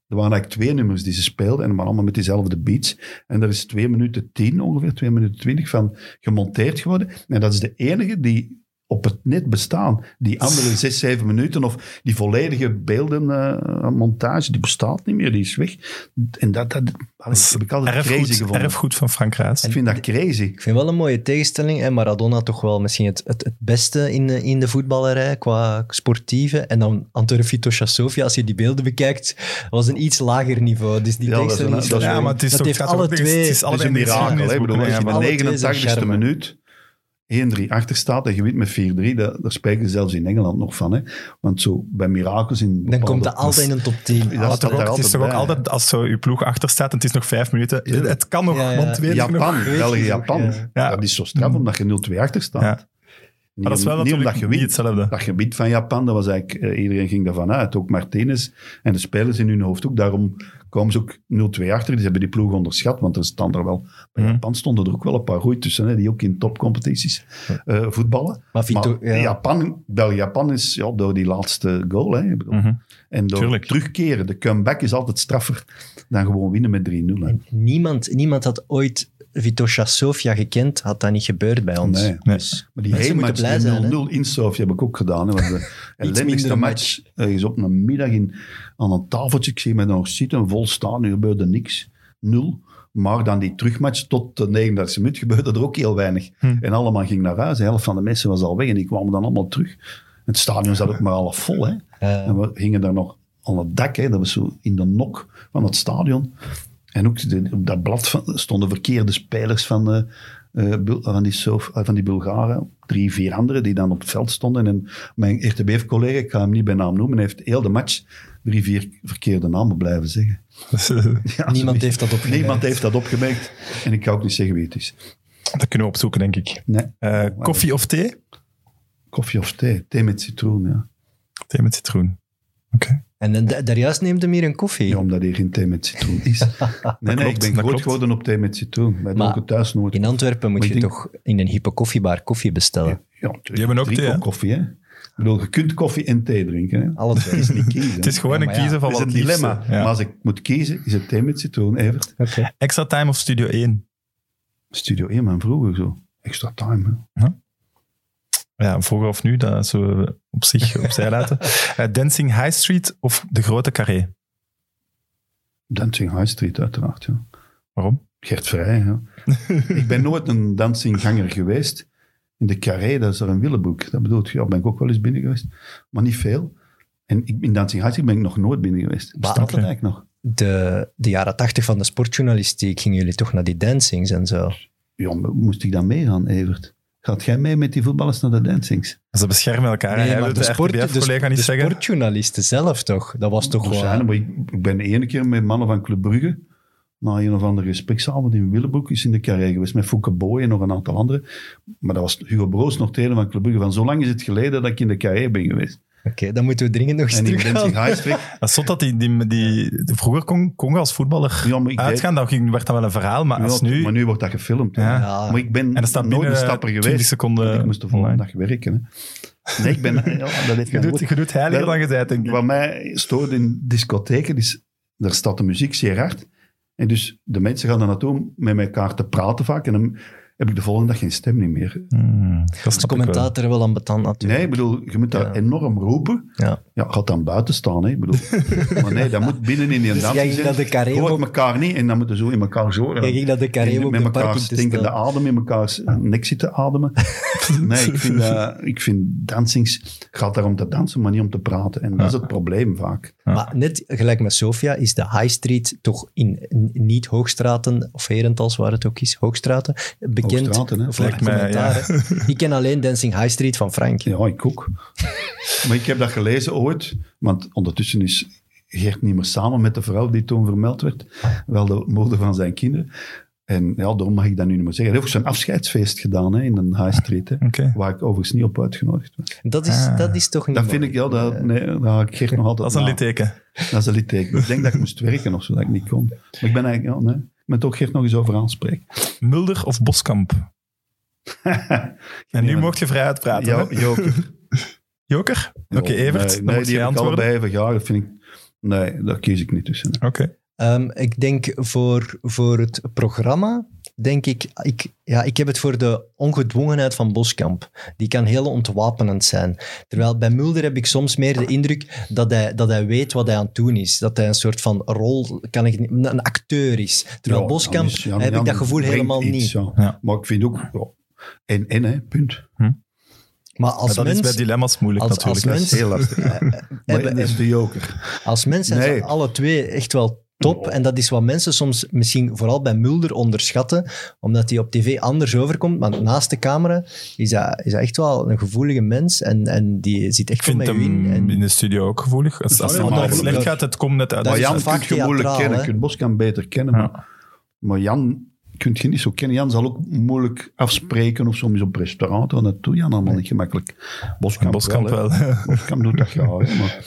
C: er waren eigenlijk twee nummers die ze speelden en die waren allemaal met diezelfde beats. En er is 2 minuten 10 ongeveer, 2 minuten 20 van gemonteerd geworden. En dat is de enige die op het net bestaan. Die andere 6, 7 minuten of die volledige beeldenmontage, montage die bestaat niet meer, die is weg. En dat, dat, dat heb ik altijd crazy
A: Erfgoed,
C: gevonden.
A: erfgoed van Frank Raas.
C: Ik vind dat crazy.
B: Ik vind wel een mooie tegenstelling. En Maradona toch wel misschien het, het, het beste in de, in de voetballerij qua sportieve. En dan Antonio Fito Chassovia, als je die beelden bekijkt, was een iets lager niveau. Dus die
C: Ja, dat is
B: tegenstelling
C: een-
B: is
C: dat is
B: wel-
A: ja, maar het is
B: dat
A: toch,
B: heeft
A: het gaat
B: alle
A: ook tegen-
B: twee-
A: Het is
C: Dat is
A: allebei
C: een mirakel. hè. Ik bedoel, als je
A: Ja,
C: in
A: maar-
B: alle twee zijn
C: de 89ste
B: charme.
C: minuut 1-3 achter staat en je wint met 4-3, dat- daar spreken ze zelfs in Engeland nog van. Hè. Want zo bij mirakels in
B: Dan komt er
C: bepaalde-
B: altijd
A: dus-
B: een top 10.
C: Ja, dat
A: toch
C: staat
A: ook-
C: daar
A: het is toch ook
C: bij, hè.
A: altijd, als zo je ploeg achter staat en het is nog vijf minuten, het, het kan nog,
B: Ja, ja.
A: want weet je nog.
C: Japan,
B: je nog,
C: België-Japan.
B: ja.
A: Ja.
C: Dat is zo straf, omdat je 0-2 achter staat.
A: Ja. Maar
C: Niet,
A: Maar dat is wel
C: om- niet omdat je
A: natuurlijk niet
C: wint.
A: hetzelfde.
C: Dat gebied van Japan, dat was eigenlijk, eh, iedereen ging daarvan uit. Ook Martinez en de spelers in hun hoofd ook. Daarom komen ze ook 0-2 achter. Die hebben die ploeg onderschat, want er staan er wel... Bij
A: Mhm.
C: Japan stonden er ook wel een paar goeie tussen, hè, die ook in topcompetities eh, voetballen.
B: Maar Vito,
C: maar
B: ja.
C: Japan, België-Japan is ja, door die laatste goal. Hè, ik bedoel.
A: Mhm.
C: En door
A: Tuurlijk.
C: terugkeren, de comeback is altijd straffer dan gewoon winnen met 3-0. hè.
B: En niemand, niemand had ooit Vito Chassovia gekend, had dat niet gebeurd bij ons.
C: Nee.
A: Nee.
B: Dus
C: Maar die
B: Mensen
C: hele match
B: moeten blij zijn, hè?
C: die 0-0 in Sofia heb ik ook gedaan. Hè, want
B: <laughs>
C: de ellendigste
B: minder
C: match. Er is op een middag in, aan een tafeltje. Ik zie mij nog zitten, vol staan. Nu gebeurde niks. Nul. Maar dan die terugmatch tot de 39e minuut gebeurde er ook heel weinig.
A: Hm.
C: En allemaal ging naar huis. De helft van de mensen was al weg en die kwamen dan allemaal terug. Het stadion zat ook maar half vol. Hè.
B: eh,
C: En we gingen daar nog aan het dak, hè, dat was zo in de nok van het stadion. En ook de- op dat blad van, stonden verkeerde spelers van, eh, eh, Bul- van, die, Sof- eh, van die Bulgaren. Drie, vier anderen die dan op het veld stonden. En mijn RTBF-collega, ik ga hem niet bij naam noemen, heeft heel de match drie, vier verkeerde namen blijven zeggen. Ja,
B: niemand
C: zoiets.
B: heeft dat opgemerkt.
C: Niemand heeft dat opgemerkt. En ik ga ook niet zeggen wie het is.
A: Dat kunnen we opzoeken, denk ik.
C: Nee,
A: Eh, koffie of thee?
C: koffie of thee? Thee met citroen, ja.
A: Thee met citroen.
B: En dan- da- daarjuist neemt hem hier een koffie.
C: Ja, omdat hier geen thee met citroen is. Nee, nee,
A: klopt, dat
C: ik ben groot
A: klopt.
C: geworden op thee met citroen. Wij
B: Maar-
C: dronken thuis nooit
B: In Antwerpen moet
C: Maar
B: je
C: ik denk-
B: toch in een hippe koffiebar koffie bestellen.
C: Ja, natuurlijk.
A: Die hebben ook
C: Drink
A: thee, hè?
C: koffie, hè? Ik bedoel, je kunt koffie en thee drinken. Hè?
B: Alle twee.
C: <laughs> Dat is
A: <laughs>
C: niet kiezen.
A: Het is gewoon
B: Ja,
A: een
B: maar ja,
A: kiezen van
C: Dat is
A: wat
C: een
A: het liefste.
C: dilemma.
A: Ja.
C: Maar als ik moet kiezen, is het thee met citroen, Evert?
B: Oké.
A: Extra time of Studio 1?
C: Studio 1, man, vroeger zo. Extra time, hè?
A: Ja, vroeger of nu, dat zullen we op zich opzij laten. Eh, Dancing High Street of De Grote Carré?
C: Dancing High Street, uiteraard, ja.
A: Waarom?
C: Gert Vrij,
A: <laughs>
C: ja. ik ben nooit een dansingganger geweest. In de Carré, dat is er een willeboek. Dat bedoel ik, ja, ben ik ook wel eens binnen geweest. Maar niet veel. En ik, in Dancing High Street ben ik nog nooit binnen geweest. Bestaat dat
A: oké.
C: eigenlijk nog?
B: De, de jaren tachtig van de sportjournalistiek gingen jullie toch naar die dancings en zo.
C: Ja, maar moest ik dan meegaan, Evert? Gaat jij mee met die voetballers naar de dansings?
A: Ze beschermen elkaar. Nee, de, RTBF-collega niet
B: de
A: zeggen.
B: sportjournalisten zelf toch? Dat was toch
C: Toch
B: gewoon...
C: zijn, maar ik, ik ben de ene keer met mannen van Club Brugge naar een of andere gespreksavond in Willebroek is in de carré geweest met Fouke Boy en nog een aantal anderen. Maar dat was Hugo Broos nog trainer van Club Brugge. Van zo lang is het geleden dat ik in de carré ben geweest.
B: Oké, dan moeten we dringend nog eens
C: En in Dancing
B: teruggaan.
C: High
A: <laughs>
C: Street.
A: Dat is zot dat die, die, die, die- vroeger kon, kon je als voetballer
C: Ja, maar ik deed-
A: uitgaan. Dan ging- werd dat wel een verhaal, maar als
C: Ja,
A: nu...
C: maar nu wordt dat gefilmd. hè.
A: Ja.
B: Ja.
C: Maar ik ben
A: en dat staat
C: nooit
A: binnen
C: een stapper
A: 20
C: geweest.
A: seconden
C: ik moest de volgende
A: online.
C: dag werken. Hè. Nee,
A: <laughs>
C: ik ben... ja, dat heeft
A: Je
C: mij nooit-
A: doet, je doet heiliger
C: Wel,
A: dan je bent, denk ik.
C: Wat mij stoort in discotheken is, daar staat de muziek zeer hard. En dus de mensen gaan daar naartoe om met elkaar te praten vaak. En dan heb ik de volgende dag geen stem niet meer.
A: Hmm, dat
B: Als
A: snap ik wel.
B: commentator wel aan betant natuurlijk.
C: Nee, ik bedoel, je moet daar
B: Ja.
C: enorm roepen.
B: Ja.
C: Ja, gaat dan buiten staan, hè.
B: <laughs>
C: Ik bedoel, maar nee, dat moet binnen in die
B: Dus jij
C: dansie
B: ging naar
C: zijn.
B: de carré
C: Je hoort
B: op-
C: elkaar niet en dan moeten ze zo in elkaar zo...
B: Jij ging naar de carré
C: en
B: op
C: met
B: de
C: elkaar
B: parking te
C: stinkende
B: staan.
C: adem in elkaars nek zitten
B: <laughs>
C: ademen. nee, ik vind, dat- ik vind dansings gaat daar om te dansen, maar niet om te praten. En dat is het probleem vaak.
B: Maar net gelijk met Sofia is de High Street toch in n- niet Hoogstraten, of Herentals waar het ook is, Hoogstraten, bekend
C: Hoogstraten, hè?
B: voor
A: Lijkt mij,
B: commentaar. hè. Ik ken alleen Dancing High Street van Frank.
A: <laughs>
C: Ja, ik ook. maar ik heb dat gelezen ooit, want ondertussen is Geert niet meer samen met de vrouw die toen vermeld werd. Wel de moeder van zijn kinderen. En ja, daarom mag ik dat nu niet meer zeggen. Hij heeft ook zijn afscheidsfeest gedaan hè, in een high street. Hè,
A: Oké.
C: Waar ik overigens niet op uitgenodigd was.
B: Dat is,
A: Ah.
B: dat is toch niet
C: Dat vind
B: mooi.
C: ik, ja, dat, nee, daar haal ik Geert nog altijd
A: Dat is een
C: na.
A: litteken.
C: Dat is een litteken. Ik denk dat ik moest werken of zo, dat ik niet kon. Maar ik ben eigenlijk, ja, nee. Ik ben het ook Geert nog eens over
A: <laughs>
C: aanspreken.
A: Mulder of Boskamp? En nu mocht je vrij uitpraten.
C: Jo-
A: hè?
C: Joker.
A: Joker? Oké, Evert,
C: Nee,
A: dan
C: nee
A: moet
C: die
A: jij
C: heb ik
A: antwoorden.
C: allebei even gehad. Dat vind ik... Nee, daar kies ik niet tussen.
A: Oké.
B: Ehm, ik denk voor, voor het programma, denk ik, ik, ja, ik heb het voor de ongedwongenheid van Boskamp. Die kan heel ontwapenend zijn. Terwijl bij Mulder heb ik soms meer de indruk dat hij, dat hij weet wat hij aan het doen is. Dat hij een soort van rol, kan ik, niet- een acteur is. Terwijl
C: Ja,
B: Boskamp
C: dan is- ja,
B: heb
C: dan
B: ik dat gevoel
C: brengt
B: helemaal
C: iets,
B: niet.
C: ja.
A: Ja.
C: Maar ik vind ook... ja, En, en, hè, punt.
B: Maar als
A: Maar dat
B: mens,
A: is bij dilemma's moeilijk
B: als-
A: natuurlijk.
B: als
C: Dat
B: Mens- eh,
C: is heel lastig. maar
B: hebben-
C: dat is de joker.
B: Als mensen zijn
C: Nee.
B: ze alle twee echt wel top. En dat is wat mensen soms misschien vooral bij Mulder onderschatten. Omdat hij op tv anders overkomt. Maar naast de camera is hij, is hij echt wel een gevoelige mens. En, en die zit
A: Ik
B: echt
A: vind
B: wel met u in.
A: hem
B: En
A: in de studio ook gevoelig. Als, als
C: Ja,
A: het
C: maar-
A: allemaal slecht
B: dat-
A: gaat, het komt net uit.
B: dat
C: Maar
B: is
C: Jan
B: vaak
C: kun je moeilijk
B: theatraal,
C: kennen.
B: hè?
C: Je kunt Boskamp beter kennen.
A: Ja.
C: Maar, maar Jan kun je niet zo kennen. Jan zal ook moeilijk afspreken of soms op restaurant. Want dat doet Jan allemaal niet gemakkelijk. Boskamp,
A: Boskamp
C: wel. hè.
A: wel.
C: Boskamp doet dat graag. hè, Maar,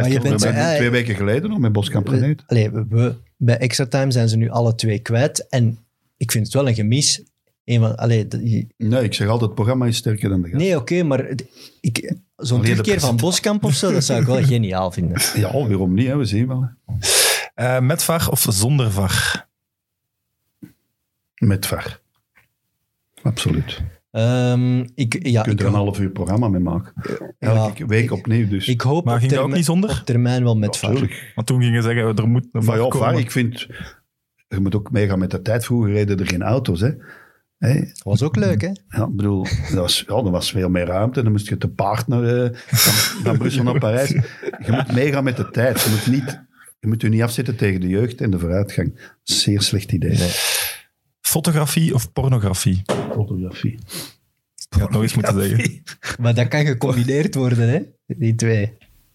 B: Maar je
C: We
B: bent zo...
C: hebben
B: eh,
C: twee weken geleden nog met Boskamp
B: we,
C: gereden.
B: allee, we- we- bij Extra Time zijn ze nu alle twee kwijt. En ik vind het wel een gemis. Een van, allee, dat- je-
C: Nee, ik zeg altijd, het programma is sterker dan de gast.
B: nee, oké, maar het- ik, zo'n
C: Alleen de
B: terugkeer van Boskamp of zo, dat zou ik
C: <laughs>
B: wel geniaal vinden.
C: Ja, waarom niet? Hè? We zien wel.
A: <laughs> Eh, met VAR of zonder VAR?
C: Met VAR. Absoluut.
B: Ehm, ik, ja,
C: Je kunt
B: ik,
C: er een half uur programma mee maken. Elke
B: ja,
C: week
B: ik-
C: opnieuw dus.
B: ik hoop
A: Maar
B: op
A: ging dat ook
B: termijn-
A: niet zonder?
B: op termijn wel met VAR.
C: Natuurlijk.
A: Want toen gingen ze zeggen, er moet een
C: Maar
A: VAR
C: ja,
A: komen.
C: VAR, ik vind... Je moet ook meegaan met de tijd. Vroeger reden er geen auto's, hè. Hé,
B: Dat was ook leuk, hè?
C: ja, ik bedoel, dat was, ja, er was veel meer ruimte. Dan moest je te paard naar, eh, van, van Brussel naar Parijs. Je moet meegaan met de tijd. Je moet, niet, je moet je niet afzetten tegen de jeugd en de vooruitgang. Zeer slecht idee.
A: Fotografie of pornografie?
C: Fotografie.
A: Ik had nog iets moeten zeggen.
B: Maar dat kan gecombineerd worden, hè? Die twee.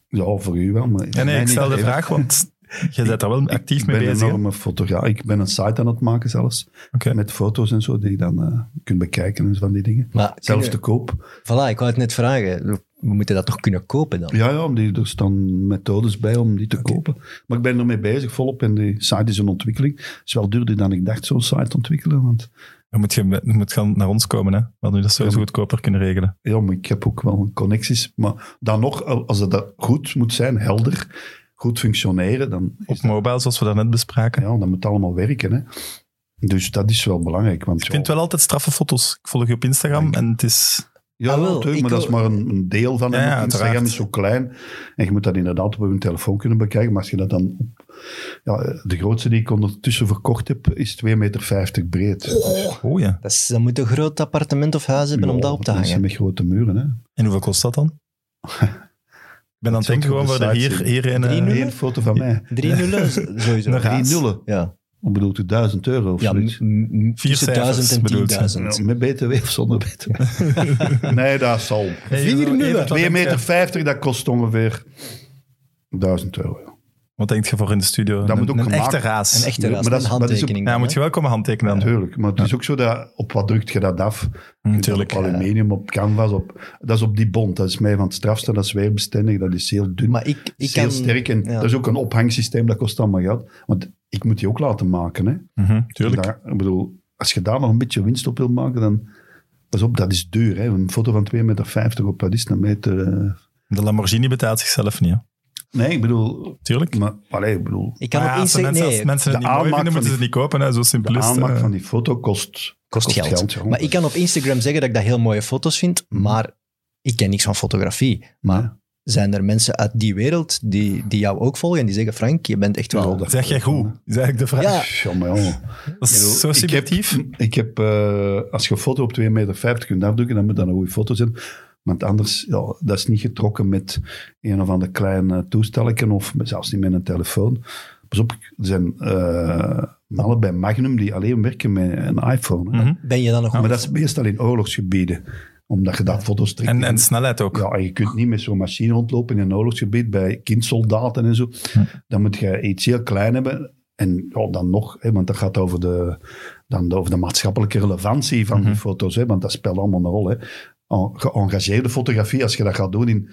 C: Ja, voor u wel, maar...
A: Ja, nee,
C: mij
A: ik
C: niet.
A: stel de
C: Even.
A: vraag,
C: <laughs>
A: want je bent daar wel actief mee
C: Ik
A: bezig.
C: ben een
A: hè? Oké.
C: enorme fotograaf. Ik ben een site aan het maken zelfs. Met foto's en zo, die je dan eh, kunt bekijken en zo van die dingen.
B: Maar
C: Zelfs te
B: kunnen-
C: koop.
B: Voilà, ik wou het net vragen. We moeten dat toch kunnen kopen dan?
C: Ja, ja die, er staan methodes bij om die te kopen. Maar ik ben ermee bezig, volop. En die site is een ontwikkeling. Het is wel duurder dan ik dacht, zo'n site ontwikkelen. Want
A: Dan moet je dan moet je naar ons komen, hè. We hadden dat sowieso goedkoper kunnen regelen.
C: ja, maar ik heb ook wel connecties. Maar dan nog, als het dat goed moet zijn, helder, goed functioneren, dan,
A: Op mobile, zoals we daarnet bespraken.
C: ja, dan moet het allemaal werken. Hè. Dus dat is wel belangrijk. Want,
A: Ik vind wel altijd straffe foto's. Ik volg je op Instagram en het is...
C: Ja,
B: Ah, wel,
C: natuurlijk,
B: ik
C: maar dat
B: wil-
C: is maar een, een deel van
A: Ja,
C: het
A: ja,
C: Instagram
A: uiteraard.
C: is zo klein. En je moet dat inderdaad op je telefoon kunnen bekijken. Maar als je dat dan... op- Ja, de grootste die ik ondertussen verkocht heb, is 2,50 meter breed.
A: Oh ja.
B: Dat, is, dat moet een groot appartement of huis hebben om
C: Ja,
B: dat op te
C: mensen
B: hangen.
C: met grote muren, hè.
A: En hoeveel kost dat
C: <laughs>
A: dan? Ik ben aan het denken
C: Dat zou
A: gewoon
C: ik op
A: voor
C: de
A: de
C: site
A: hier,
C: zien.
A: hier in... eh,
B: Drie nullen?
C: Eén foto van mij.
B: Drie nullen z-
C: <laughs>
B: sowieso.
A: Nog
C: Drie
A: Haas.
C: nullen.
B: Ja,
C: Wat bedoelt u? Duizend euro of
B: ja m-
C: zoiets?
B: m- m-
A: Vier
B: tussen
A: cijfers
B: duizend en
A: bedoelt ze.
B: tienduizend.
C: Ja, met btw of zonder btw? <laughs> nee, dat zal.
A: Hey, Evert, wat denk
C: 2,50
A: jij?
C: meter, dat kost ongeveer 1000 euro.
A: Wat denk je voor in de studio?
C: Dat
A: een,
C: moet ook
A: een
C: gemaakt-
A: echte raas.
B: Een echte
C: Ja,
B: raas,
C: maar dat
B: een
C: is- maar dat is ook-
B: handtekening.
A: Ja,
B: dan,
A: moet je
B: hè?
A: wel komen handtekenen. dan. Mm,
C: Natuurlijk, maar het is ook zo dat op wat drukt je dat af?
A: Natuurlijk. eh.
C: Op eh, aluminium, op canvas, op, dat is op die bond. Dat is mij van het strafste, dat is weerbestendig, dat is heel dun,
B: Maar ik, ik
C: is heel
B: kan...
C: sterk. En
B: ja.
C: dat is ook een ophangsysteem, dat kost allemaal geld. Want ik moet die ook laten maken. Hè?
A: Mhm, tuurlijk.
C: Daar- ik bedoel, als je daar nog een beetje winst op wil maken, dan... Pas op, dat is duur. Hè? Een foto van 2,50 meter op, dat is een meter... eh,
A: De Lamborghini betaalt zichzelf niet, hè.
C: Nee, ik bedoel...
A: Tuurlijk.
C: Maar, allee, ik bedoel...
B: Ik kan
A: Maar
B: op
A: ja, als, de
B: Insta-
A: mensen,
B: nee,
A: als mensen het niet
C: de
A: mooi
C: aanmaak
A: vinden,
C: van
A: moeten ze het niet kopen. Hè? Zo
C: De
A: simpel is het,
C: aanmaak
A: hè.
C: van die foto kost...
B: kost geld.
C: jongen.
B: Maar ik kan op Instagram zeggen dat ik dat heel mooie foto's vind,
C: Mm.
B: maar ik ken niks van fotografie. Maar
C: Ja.
B: zijn er mensen uit die wereld die, die jou ook volgen en die zeggen, Frank, je bent echt wel...
C: Ja, dat-
A: Zeg jij goed? Is eigenlijk de vraag.
B: Ja.
C: Ja, maar jongen.
A: Dat
C: Ik bedoel,
A: is zo subjectief.
C: Ik heb, ik heb, eh, als je een foto op 2,50 meter kunt afdrukken, dan moet dat een goede foto zijn. Want anders, ja, dat is niet getrokken met een of ander klein eh, toestelletje of met- zelfs niet met een telefoon. Pas op, er zijn eh mannen bij Magnum die alleen werken met een iPhone. hè.
A: Mhm.
C: Ah,
B: Ben je dan nog...
C: Maar dat is meestal in oorlogsgebieden. Omdat je daar foto's trekt.
A: En, en snelheid ook.
C: Ja, en je kunt niet met zo'n machine rondlopen in een oorlogsgebied bij kindsoldaten en zo.
A: Hm.
C: Dan moet je iets heel klein hebben. En ja, dan nog, hè, want dat gaat over de, dan over de maatschappelijke relevantie van
A: Mhm.
C: die foto's. Hè, want dat speelt allemaal een rol. Hè. En- Geëngageerde fotografie, als je dat gaat doen in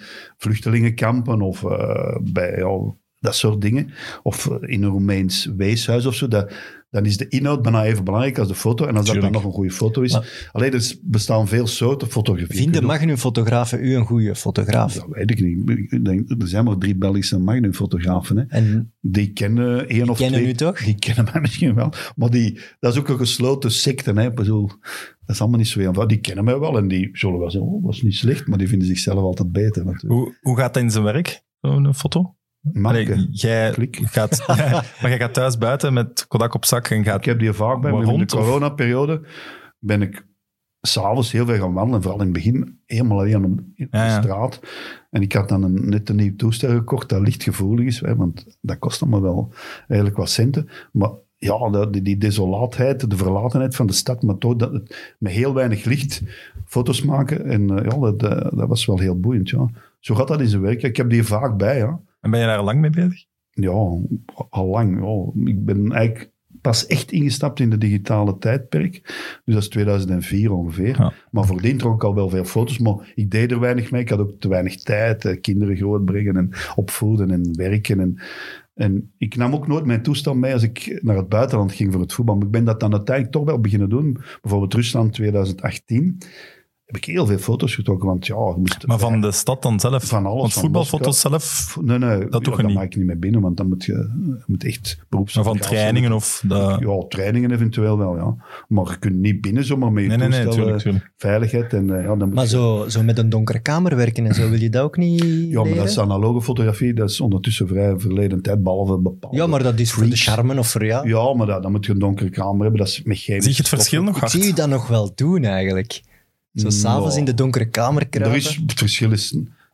C: vluchtelingenkampen of eh, bij ja, dat soort dingen. Of eh, in een Roemeens weeshuis of zo. Dat, dan is de inhoud bijna even belangrijk als de foto. En als dat dan
A: Tuurlijk.
C: nog een goede foto is. Alleen er is- bestaan veel soorten fotografie. Je
B: Vinden
C: kunt ook-
B: magnumfotografen u een goede fotograaf?
C: dat weet ik niet. Ik denk, er zijn maar drie Belgische magnumfotografen. Hè.
B: En
C: Die kennen één of
B: kennen
C: twee.
B: u toch?
C: Die kennen mij <laughs> misschien wel. Maar die, dat is ook een gesloten secte. Hè. Ik bedoel, dat is allemaal niet zo eenvoudig. Die kennen mij wel en die zullen wel zeggen, oh, was niet slecht. Maar die vinden zichzelf altijd beter. natuurlijk.
A: Hoe, hoe gaat dat in zijn werk, zo'n foto? Allee,
C: Marken.
A: jij
C: Klik.
A: gaat,
C: <laughs>
A: ja, maar jij gaat thuis buiten met Kodak op zak en gaat...
C: Ik heb die vaak bij me. In de
A: Waarom, of-
C: coronaperiode ben ik s'avonds heel veel gaan wandelen. Vooral in het begin helemaal alleen op in de
A: Ja, ja.
C: straat. En ik had dan een, net een nieuw toestel gekocht dat lichtgevoelig is. Hè, want dat kost allemaal wel eigenlijk wat centen. Maar ja, dat- die, die desolaatheid, de verlatenheid van de stad. Maar toch dat, het- met heel weinig licht foto's maken. En eh, ja, dat, eh, dat was wel heel boeiend. Ja. Zo gaat dat in zijn werk. Ik heb die vaak bij, ja.
A: En ben je daar lang mee bezig?
C: Ja, al lang. Ja. Ik ben eigenlijk pas echt ingestapt in de digitale tijdperk. Dus dat is 2004 ongeveer.
A: Ja.
C: Maar voordien trok ik al wel veel foto's. Maar ik deed er weinig mee. Ik had ook te weinig tijd. eh, Kinderen grootbrengen en opvoeden en werken. En, en ik nam ook nooit mijn toestand mee als ik naar het buitenland ging voor het voetbal. Maar ik ben dat dan uiteindelijk toch wel beginnen doen. Bijvoorbeeld Rusland 2018. Heb ik heel veel foto's getrokken. Want ja, je moest...
A: Maar van de stad dan zelf?
C: Van alles,
A: Want
C: van
A: voetbalfoto's
C: Moskou.
A: zelf?
C: Nee, nee, ja,
A: doe je
C: dat
A: niet.
C: maak ik niet mee binnen, want dan moet je, je moet echt beroeps.
A: Van trainingen eh. of... De...
C: Ja, trainingen eventueel wel, ja. Maar je kunt niet binnen zomaar met je
A: Nee, nee, nee,
C: toestel,
A: tuurlijk,
C: eh,
A: tuurlijk.
C: veiligheid. En, eh, ja, dan moet
B: Maar
C: je-
B: zo, zo met een donkere kamer werken en zo, wil je dat ook niet
C: ja, maar dat is analoge fotografie, dat is ondertussen vrij verleden tijd, behalve bepaalde...
B: ja, maar dat is voor de
C: freaks.
B: charme of voor ja.
C: Ja, maar dat, dan moet je een donkere kamer hebben, dat is met chemische
A: Zie je het verschil nog
B: Ik
A: hard?
B: zie u dat nog wel doen eigenlijk. Zo s'avonds
C: Nou.
B: in de donkere kamer
C: stoffen. Er
B: kruipen.
C: is, het verschil is,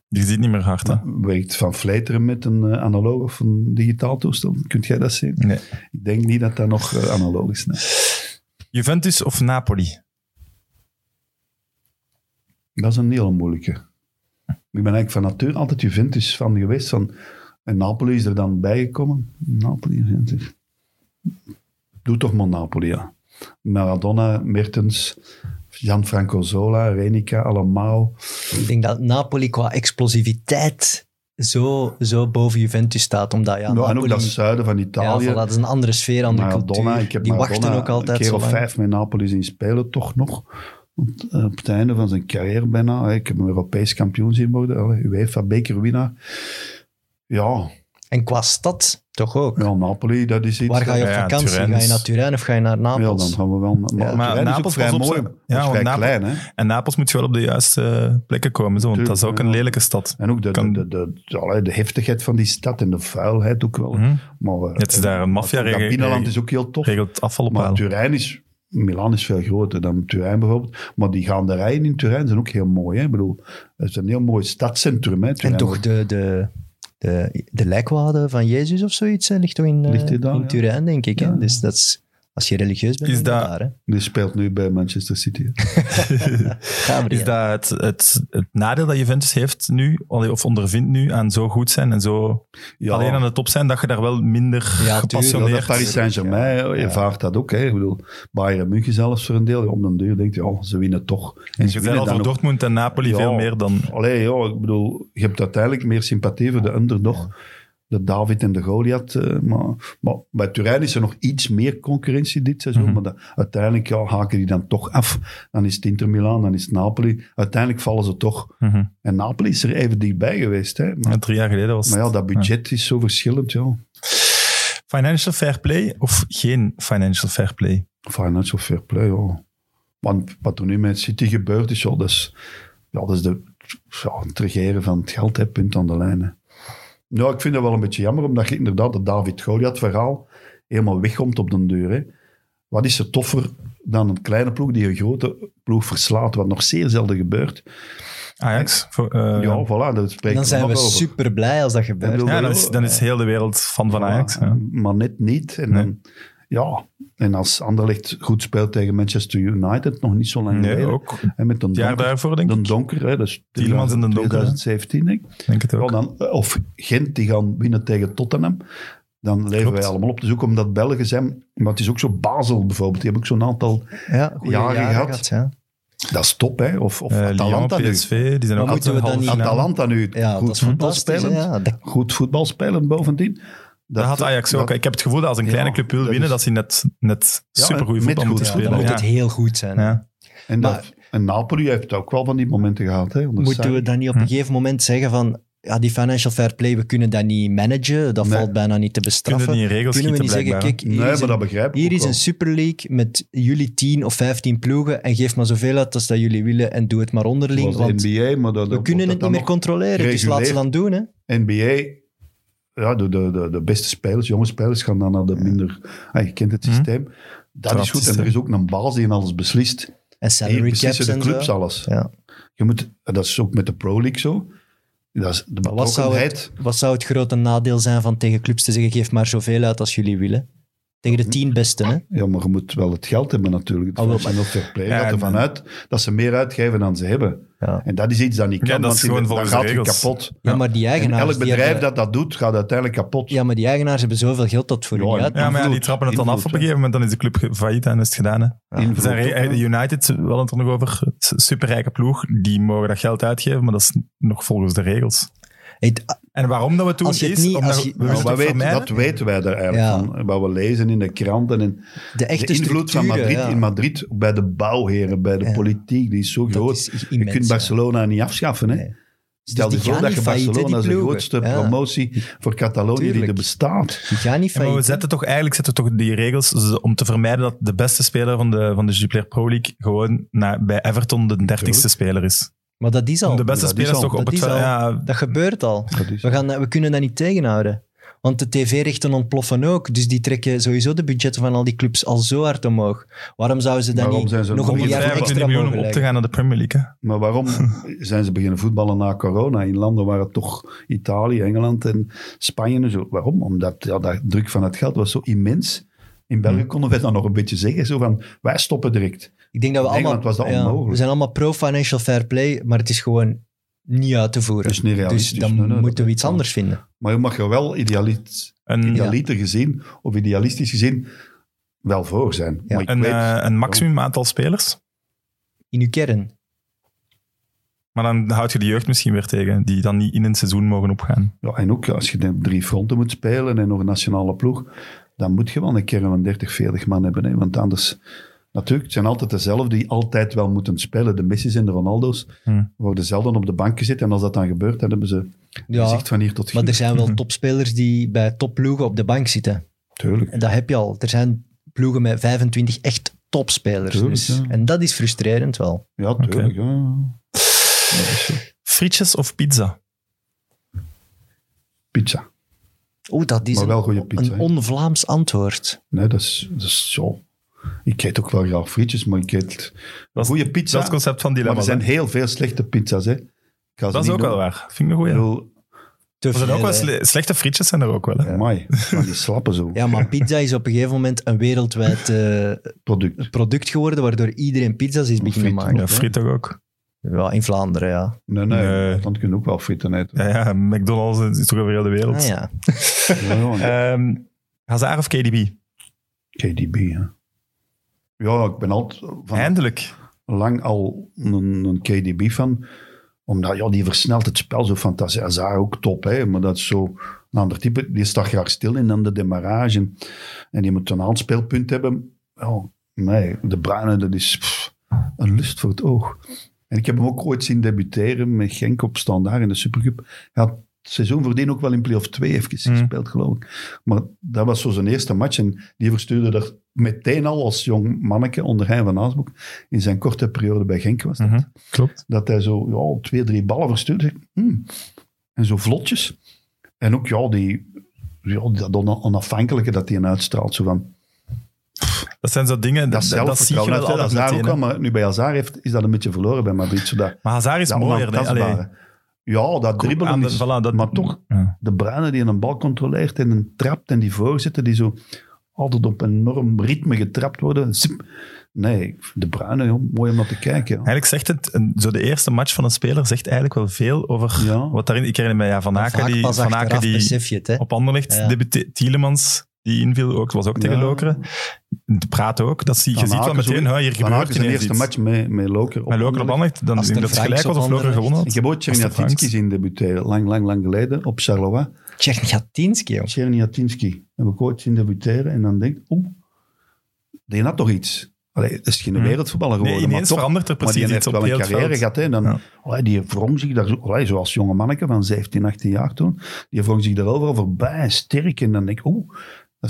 A: Je ziet niet meer hard, hè?
C: werkt Van Vleiteren met een eh, analoog of een digitaal toestel? Kunt jij dat zien?
A: Nee.
C: Ik denk niet dat dat nog eh, analoog is. nee.
A: Juventus of Napoli?
C: Dat is een heel moeilijke. Ik ben eigenlijk van natuur altijd Juventus van geweest. Van, en Napoli is er dan bijgekomen. Napoli, Juventus. Doe toch maar Napoli, ja. Maradona, Mertens, Gianfranco Zola, Renica, allemaal.
B: Ik denk dat Napoli qua explosiviteit zo, zo boven Juventus staat. Omdat ja,
C: nou, en ook
B: Napoli-
C: dat zuiden van Italië.
B: Ja, voilà, dat is een andere sfeer, andere
C: Maradona,
B: cultuur.
C: ik heb
B: die
C: Maradona
B: wachten ook altijd
C: een keer
B: zo
C: of
B: lang.
C: vijf met Napoli zien spelen, toch nog. Want, eh, op het einde van zijn carrière bijna. hè, Ik heb hem Europees kampioen zien worden. allee, UEFA bekerwinnaar. Ja,
B: En qua stad toch ook.
C: ja, Napoli, dat is iets. eh,
B: Waar ga je op
A: Ja, ja,
B: vakantie?
A: Turijn
B: Ga je
A: is-
B: naar Turijn of ga je naar
C: Ja,
B: Napels?
C: dan gaan we wel. Maar,
B: Ja,
C: Turijn
A: maar
C: dus is ook
A: Napels,
C: vrij
A: pas op,
C: mooi.
A: ze-
C: maar
A: ja,
C: is
A: want
C: vrij
A: Napels-
C: klein, hè?
A: En Napels moet je wel op de juiste plekken komen, zo, want dat is ook een
C: Tuurlijk, ja.
A: lelijke stad.
C: En ook de,
A: Kan-
C: de, de, de, allee, de heftigheid van die stad en de vuilheid ook wel.
A: Mhm.
C: Maar, eh,
A: Het is daar een maffia
C: Dat binnenland
A: regelt
C: is ook heel tof.
A: regelt afval
C: Maar
A: ophalen.
C: Turijn is... Milaan is veel groter dan Turijn bijvoorbeeld. Maar die gaanderijen in Turijn zijn ook heel mooi. Hè? Ik bedoel, het is een heel mooi stadscentrum. Hè,
B: En
C: Turijn.
B: toch de, de, de, de lijkwade van Jezus of zoiets hè, ligt toch in, eh,
C: Ligt die daar,
B: in
C: ja.
B: Turijn, denk ik. Hè?
C: Ja.
B: Dus dat is, als je religieus bent,
A: Is
B: ben je
A: dat-
B: daar. Hè?
C: Die speelt nu bij Manchester City. hè.
A: Is
B: Gabriel.
A: dat het, het, het nadeel dat Juventus heeft nu, allee, of ondervindt nu, aan zo goed zijn en zo
C: Ja.
A: alleen aan de top zijn, dat je daar wel minder
B: Ja,
C: Ja,
A: gepassioneerd...
C: dat Paris Saint-Germain ervaart dat ook. Hè. Ik bedoel, Bayern München zelfs voor een deel. Om den duur denkt je, oh, ze winnen toch. En ze
A: je bent
C: winnen
A: al
C: dan
A: voor
C: ook
A: Dortmund en Napoli
C: Ja.
A: veel meer dan...
C: Allee, ja, ik bedoel, je hebt uiteindelijk meer sympathie voor de underdog. De David en de Goliath. eh, maar, maar bij Turijn is er nog iets meer concurrentie dit seizoen.
A: Mhm.
C: Maar dat- uiteindelijk ja, haken die dan toch af. Dan is het Inter Milaan, dan is het Napoli. Uiteindelijk vallen ze toch.
A: Mhm.
C: En Napoli is er even dichtbij geweest. Hè? Maar,
A: Ja, drie jaar geleden was
C: maar ja,
A: het.
C: dat budget is zo verschillend. Ja.
A: Financial fair play of geen financial fair play?
C: Financial fair play, ja. Want wat er nu met City gebeurd is, ja, dat is, ja, dat is de, ja, het regeren van het geld, hè, punt aan de lijnen. Nou, ik vind dat wel een beetje jammer, omdat je inderdaad het David-Goliath-verhaal helemaal wegkomt op den deur. Hè. Wat is er toffer dan een kleine ploeg die een grote ploeg verslaat, wat nog zeer zelden gebeurt.
A: Ajax? Voor, eh,
C: ja, voilà, daar
B: En
C: spreken
B: dan zijn
C: nog
B: we
C: over.
B: super blij als dat
C: Ik
B: gebeurt.
C: bedoel-
A: ja, dan is, dan is heel de wereld van van
C: Voilà,
A: Ajax. ja.
C: Maar net niet. En
A: Nee.
C: dan, ja, En als Anderlecht goed speelt tegen Manchester United, nog niet zo lang
A: Nee,
C: geleden.
A: ook.
C: En met een
A: Het jaar
C: donker,
A: daarvoor, denk ik.
C: Den donker hè, dus
A: Tielemans en Den Donker, hè.
C: 2017, denk ik.
A: Ik Denk het
C: Wel,
A: ook.
C: dan, eh, of Gent, die gaan winnen tegen Tottenham. Dan leven
A: Klopt.
C: wij allemaal op te zoeken, omdat Belgen zijn... Maar het is ook zo Basel bijvoorbeeld. Die hebben ook zo'n aantal...
B: Ja, goede
C: Jaren
B: jaren,
C: gehad.
B: gehad. ja.
C: Dat is top, hè. Of, of
A: Eh, Lyon,
C: Atalanta nu.
A: PSV, die zijn
B: Maar
A: ook
B: moeten we dan niet-
A: halve finale.
C: Atalanta nu.
B: ja dat
C: goed
B: is fantastisch. hè.
C: voetbalspelend.
B: Ja, dat-
C: Goed voetbalspelend bovendien. eh,
A: Dat had Ajax ook. Ik heb het gevoel dat als een
C: Ja,
A: kleine club wil
C: dat
A: winnen,
C: is-
A: dat ze net, net
C: Ja,
A: supergoeie
C: met
A: voetbal
C: goed
A: moeten
C: voetbal
B: dan
A: spelen.
B: moet het
A: Ja.
B: heel goed zijn.
A: Ja.
C: En, dat-
B: Maar-
C: en Napoli heeft ook wel van die momenten gehad. Hè, onder
B: Moeten
C: Sarri.
B: we dan niet op
A: Hm.
B: een gegeven moment zeggen van... Ja, die financial fair play, we kunnen dat niet managen. Dat
C: Nee.
B: valt bijna niet te
A: Kunnen
B: bestraffen.
A: we niet in regels
B: Kunnen we
A: schieten,
B: niet zeggen,
A: blijkbaar. hè?
B: kijk, hier
C: Nee,
B: is
C: maar
B: een-
C: dat begrijp ik
B: Hier
C: ook
B: is
C: wel.
B: een Super League met jullie 10 of 15 ploegen en geef maar zoveel uit als dat jullie willen en doe het maar onderling.
C: Zoals de
B: Want
C: NBA, maar dat,
B: we kunnen het niet meer controleren, dus laat ze dan
C: gereguleerd.
B: doen. Hè?
C: NBA, ja, de, de, de, de beste spelers, jonge spelers, gaan dan naar de minder... Ah, je kent het
A: Mhm.
C: systeem. Dat
A: Trap
C: is goed. En
A: systeem.
C: er is ook een baas die in alles beslist.
B: En
C: Hier
B: salary caps
C: beslissen de
B: en zo.
C: clubs alles.
B: Ja.
C: Je moet, dat is ook met de Pro League zo. Dat is de
B: Maar wat zou,
C: betrokkenheid.
B: het, wat zou het grote nadeel zijn van tegen clubs te zeggen geef maar zoveel uit als jullie willen? Tegen de 10 beste, hè?
C: Ja, maar je moet wel het geld hebben natuurlijk.
B: Ah, wel,
C: Dat zijn ook fair play.
A: Ja,
C: gaat
A: en-
C: ervan uit dat ze meer uitgeven dan ze hebben.
B: Ja.
C: En dat is iets dat
A: Ja,
C: niet kan,
A: dat
C: want
A: is
C: in de-
A: gewoon
C: dan
A: volgens de
C: gaat je
A: regels.
C: kapot.
B: Ja, maar die
C: En
B: eigenaars...
C: elk
B: die
C: bedrijf
B: hebben-
C: dat dat doet, gaat uiteindelijk kapot.
B: Ja, maar die eigenaars hebben zoveel geld dat het voor
C: Ja,
B: jullie
C: ja.
B: uit.
A: Ja, maar ja, die
C: Invloed.
A: trappen het dan af op een
C: Invloed,
A: gegeven moment, dan is de club ge- failliet en is het gedaan. Hè.
C: Invloed
A: Er zijn re- eh,
C: ook, hè.
A: United, we hadden het er nog over, het superrijke ploeg, die mogen dat geld uitgeven, maar dat is nog volgens de regels.
B: Het-
A: En waarom dat we het doen
B: Als je het
A: is,
B: niet-
A: omdat
B: als je-
A: we willen
C: Nou, Maar
A: het
C: wat weet-
A: vermijden.
C: dat weten wij er eigenlijk
B: Ja.
C: van. Wat we lezen in de kranten. En
B: de echte
C: de invloed van
B: structuren,
C: Madrid
B: ja,
C: in Madrid bij de bouwheren, bij de
B: Ja.
C: politiek, die is zo
B: dat
C: groot.
B: is immens,
C: je kunt
B: ja.
C: Barcelona niet afschaffen. Hè?
B: Nee. Dus
C: Stel
B: die
C: je voor
B: gaan
C: dat
B: niet
C: je
B: failliet, hè,
C: Barcelona
B: die
C: is de
B: ploegen.
C: grootste
B: Ja.
C: promotie voor Catalonië die
B: Tuurlijk.
C: er bestaat.
B: Die gaan niet
A: Ja, maar we
B: failliet, hè?
A: zetten toch eigenlijk zetten we toch die regels z- om te vermijden dat de beste speler van de, van de Jupiler Pro League gewoon naar, bij Everton de dertigste speler is.
B: Maar dat is al.
A: Om de beste
C: dat is
A: spelers
C: al,
A: toch op
B: dat
A: het
B: is
A: veld-
B: al.
A: ja,
B: Dat gebeurt al.
C: Dat is-
B: We, gaan, dat- we kunnen dat niet tegenhouden. Want de tv-rechten ontploffen ook. Dus die trekken sowieso de budgetten van al die clubs al zo hard omhoog. Waarom zouden ze dan
C: Waarom
B: niet
C: zijn ze
B: nog een
C: nog niet
B: miljard
A: 125
B: extra
A: miljoen om op
B: mogen
A: te
B: leggen?
A: gaan naar de Premier League. hè.
C: Maar
B: <laughs>
C: waarom zijn ze beginnen voetballen na corona in landen waar het toch Italië, Engeland en Spanje en zo. Waarom? Omdat ja, dat druk van het geld was zo immens. In
B: Hm.
C: België konden wij dat nog een beetje zeggen. Zo van, wij stoppen direct.
B: Ik denk dat we
C: In
B: allemaal...
C: Engeland was dat
B: ja,
C: onmogelijk.
B: we zijn allemaal pro-financial fair play, maar het is gewoon niet uit te voeren.
C: Dat is niet
B: dus
C: realistisch.
B: dan
C: Nee, nee, dat
B: moeten we
C: klopt
B: iets
C: wel.
B: anders vinden.
C: Maar je mag er wel idealit,
A: Een,
B: Ja.
C: idealiter gezien, of idealistisch gezien, wel voor zijn.
B: Ja.
C: Maar ik
A: een,
C: weet,
A: eh, een maximum aantal spelers.
B: In uw kern.
A: Maar dan houd je de jeugd misschien weer tegen, die dan niet in een seizoen mogen opgaan.
C: Ja, en ook als je dan drie fronten moet spelen en nog een nationale ploeg, dan moet je wel een keer een 30, 40 man hebben. Hè? Want anders, natuurlijk, het zijn altijd dezelfde die altijd wel moeten spelen. De Messi's en de Ronaldo's
A: Hmm.
C: worden zelden op de bank gezet. En als dat dan gebeurt, dan hebben ze
B: Ja,
C: gezicht van hier tot hier.
B: maar er zijn
C: Mhm.
B: wel topspelers die bij topploegen op de bank zitten.
C: Tuurlijk.
B: En dat heb je al. Er zijn ploegen met 25 echt topspelers.
C: Tuurlijk,
B: Dus.
C: ja.
B: En dat is frustrerend wel.
C: Ja, tuurlijk. ja. Dat is zo.
A: Frietjes of pizza?
C: Pizza.
B: Oeh, dat is
C: Maar wel goede
B: een,
C: pizza,
B: een
C: hè?
B: on-Vlaams antwoord.
C: Nee, dat is, dat is zo. Ik eet ook wel graag frietjes, maar ik eet
A: Dat is-
C: goede
A: Dat
C: pizza.
A: is het concept van
C: maar
A: dilemma.
C: er zijn heel veel slechte pizza's. Hè. Ik ga ze
A: dat is
C: niet
A: ook wel
C: noemen.
A: waar. Oh Vind ik een goeie.
C: Ik bedoel,
B: Te
A: Er zijn
B: veel,
A: ook wel
B: hè.
A: sle- slechte frietjes zijn er ook wel. hè.
C: amai, maar die slappen zo.
B: Ja, maar pizza is op een gegeven moment een wereldwijd eh,
C: Product.
B: product geworden, waardoor iedereen pizza's is beginnen
C: frieten,
B: maken.
A: Ja, friet toch ook.
B: Ja, in Vlaanderen, ja.
C: Nee, nee,
A: Nee.
C: nee. dan kun je ook wel frieten eten.
A: Ja, ja, McDonald's is toch over heel de wereld.
B: Ah, ja.
C: Ja, ja, nee.
A: Ehm, Hazard of KDB?
C: KDB, hè. Ja, ik ben altijd van
A: Eindelijk.
C: lang al een, een KDB fan. Omdat, ja, die versnelt het spel zo fantastisch. Hazard ook top, hè. Maar dat is zo een ander type. Die staat graag stil en dan de demarrage. En die moet een aanspeelpunt hebben. Ja, nee, De Bruyne, dat is pff, een lust voor het oog. En ik heb hem ook ooit zien debuteren met Genk op standaard in de Supercup. Hij had het seizoen voordien ook wel in play-off 2 even
A: Mm.
C: gespeeld, geloof ik. Maar dat was zo zijn eerste match. En die verstuurde er meteen al als jong manneke onder Hein van Aasbroek. In zijn korte periode bij Genk was dat.
A: Mhm, Klopt.
C: Dat hij zo ja, twee, drie ballen verstuurde. Hm. En zo vlotjes. En ook ja, die, ja, dat ona- onafhankelijke dat hij uitstraalt. Zo van,
A: Dat zijn zo dingen, dat,
C: dat
A: dat, zie je wel
C: zelfvertrouwen. Dat heeft
A: altijd
C: Hazard ook
A: meteen.
C: al,
A: hè.
C: maar nu bij Hazard heeft, is dat een beetje verloren bij Madrid. Zodat,
A: Maar Hazard is
C: dat
A: mooier. hè. Allee,
C: onaantastbare. Ja, dat
A: aan
C: dribbelen
A: de-
C: is...
A: voilà, dat-
C: maar toch,
A: Ja.
C: de Bruyne die een bal controleert en een trapt en die voorzetten die zo... altijd op een enorm ritme getrapt worden. Zip. Nee, De Bruyne, joh, mooi om naar te kijken. joh.
A: Eigenlijk zegt het, een- zo de eerste match van een speler zegt eigenlijk wel veel over
C: Ja.
A: wat daarin... Ik herinner me ja, Van Aken
B: Vaak
A: die,
B: pas
A: van Aken
B: achteraf
A: die
B: besef je het, hè.
A: op Anderlecht
B: Ja.
A: debute- Tielemans die inviel, ook, was ook tegen
C: Ja.
A: Lokeren. De praat ook. Dat zie, je
C: Van
A: ziet wel
C: Aken
A: meteen,
C: zo-
A: hè, hier
C: Van
A: gebeurt
C: Aken zijn
A: ineens
C: eerste
A: iets.
C: match met, met Loker. op
A: Met Lokeren op
C: Anderlecht.
A: Anderlecht, dan
B: Als
A: ik denk
B: er
A: dat het
B: Franks
A: gelijk was
B: op
A: of Lokeren
B: Anderlecht.
A: gewonnen
C: Ik
A: had.
C: heb ooit
A: de
C: Czerniatinski
A: Franks.
C: zien debuteren, lang, lang, lang geleden, op Charleroi.
B: Tjerniatinski, joh.
C: Czerniatinski heb ik ooit zien debuteren en dan denk ik, oeh, die had toch iets. Allee, het is geen
A: Hmm.
C: wereldvoetballer geworden,
A: Nee,
C: maar
A: ineens
C: toch.
A: verandert er
C: maar
A: precies
C: die
A: iets
C: heeft
A: op
C: wel
A: heel
C: een
A: het
C: carrière
A: veld.
C: gehad. Hè. En Dan,
A: Ja.
C: allee, die wrong zich daar, zo- allee, zoals jonge manneke van 17, 18 jaar toen, die wrong zich daar overal voorbij, sterk. En dan denk ik, oeh, dat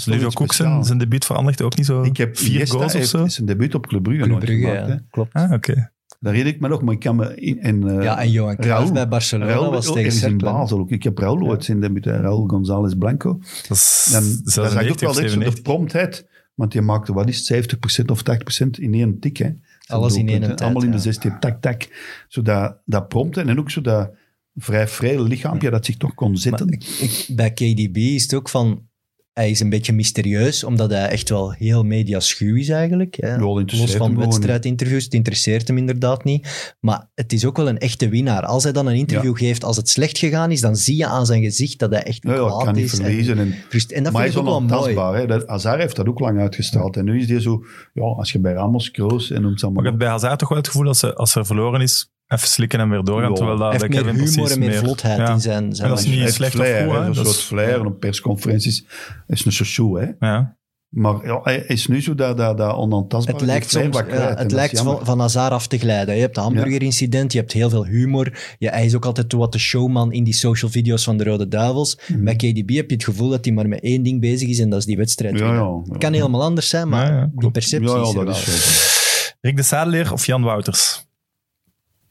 C: is toch
A: Ludo
C: iets
A: Koek zijn,
C: speciaals.
A: zijn debuut verandert ook niet zo.
C: Ik heb
A: vier
C: Iniesta
A: goals of
C: heeft
A: zo.
C: zijn debuut op Club Brugge,
B: Club
C: nooit
B: Brugge,
C: gemaakt, hè.
B: ja. Klopt.
A: Ah, oké.
C: Daar herinner ik me nog, maar ik kan me... In, en, eh,
B: Ja, en Johan Cruijff
C: Raoul-
B: bij Barcelona
C: Raúl
B: was
C: ook
B: tegen
C: ergens in
B: Cercle.
C: Basel ook. Ik heb Raul ooit zien debuteren, Raul González Blanco.
A: Dat is
C: Dan, dat zag ik ook
A: 96
C: wel
A: of
C: echt zo de
A: 97.
C: promptheid. Want je maakte, wat is het, 70% of 80% in één tik. Hè?
B: Alles in één
C: Doelpunten,
B: tijd,
C: Allemaal in de
B: ja.
C: 16, tak, tak. Zo dat, dat prompten en ook zo dat vrij vrij lichaampje dat zich toch kon zetten.
B: Ik- bij KDB is het ook van... Hij is een beetje mysterieus, omdat hij echt wel heel mediaschuw is eigenlijk. Hè.
C: dat interesseert
B: Los van
C: hem dus gewoon
B: wedstrijdinterviews, het interesseert hem inderdaad niet. Maar het is ook wel een echte winnaar. Als hij dan een interview geeft, als het slecht gegaan is, dan zie je aan zijn gezicht dat hij echt
C: Ja, ja, ik
B: kwaad
C: kan niet
B: is.
C: verliezen. En,
B: En, frust- en dat
C: maar hij
B: vind
C: is
B: ik ook wel mooi.
C: onaantastbaar. Hè? Dat, Hazard heeft dat ook lang uitgestraald. En nu is die zo, ja, als je bij Ramos, Kroos en noem het
A: Maar ik
C: allemaal.
A: heb bij Hazard toch wel het gevoel dat ze, als er verloren is, even slikken en weer doorgaan.
C: Ja.
A: Terwijl dat
B: Hij
A: bij
B: heeft meer
A: Kevin
B: humor
A: precies
B: en meer vlotheid
A: Ja.
B: in zijn... zijn
A: dat is
B: manier.
A: niet
C: Hij heeft
A: slecht of
C: flair,
A: goed, hè.
C: hè, Zo'n
A: Dat is-
C: soort flair op persconferenties. Dat is een chouchou, hè.
A: Ja.
C: Maar ja, hij is nu zo dat, dat, dat onaantastbaar.
B: Het
C: Die
B: lijkt,
C: flair
B: soms,
C: wat kwijt.
B: ja,
C: En dat
B: het
C: is
B: lijkt
C: jammer.
B: van, van Hazard af te glijden. Je hebt de hamburgerincident, je hebt heel veel humor. Ja, hij is ook altijd wat de showman in die social video's van de Rode Duivels.
C: Mm.
B: Bij KDB heb je het gevoel dat hij maar met één ding bezig is en dat is die wedstrijd.
C: Ja,
B: winnen.
C: ja, ja.
B: Het kan helemaal anders zijn, maar
A: Ja, ja,
B: die
A: klopt.
B: perceptie
C: Ja, ja,
B: is er
C: dat
B: wel.
C: is zo.
A: Rick de Sadeleer of Jan Wouters?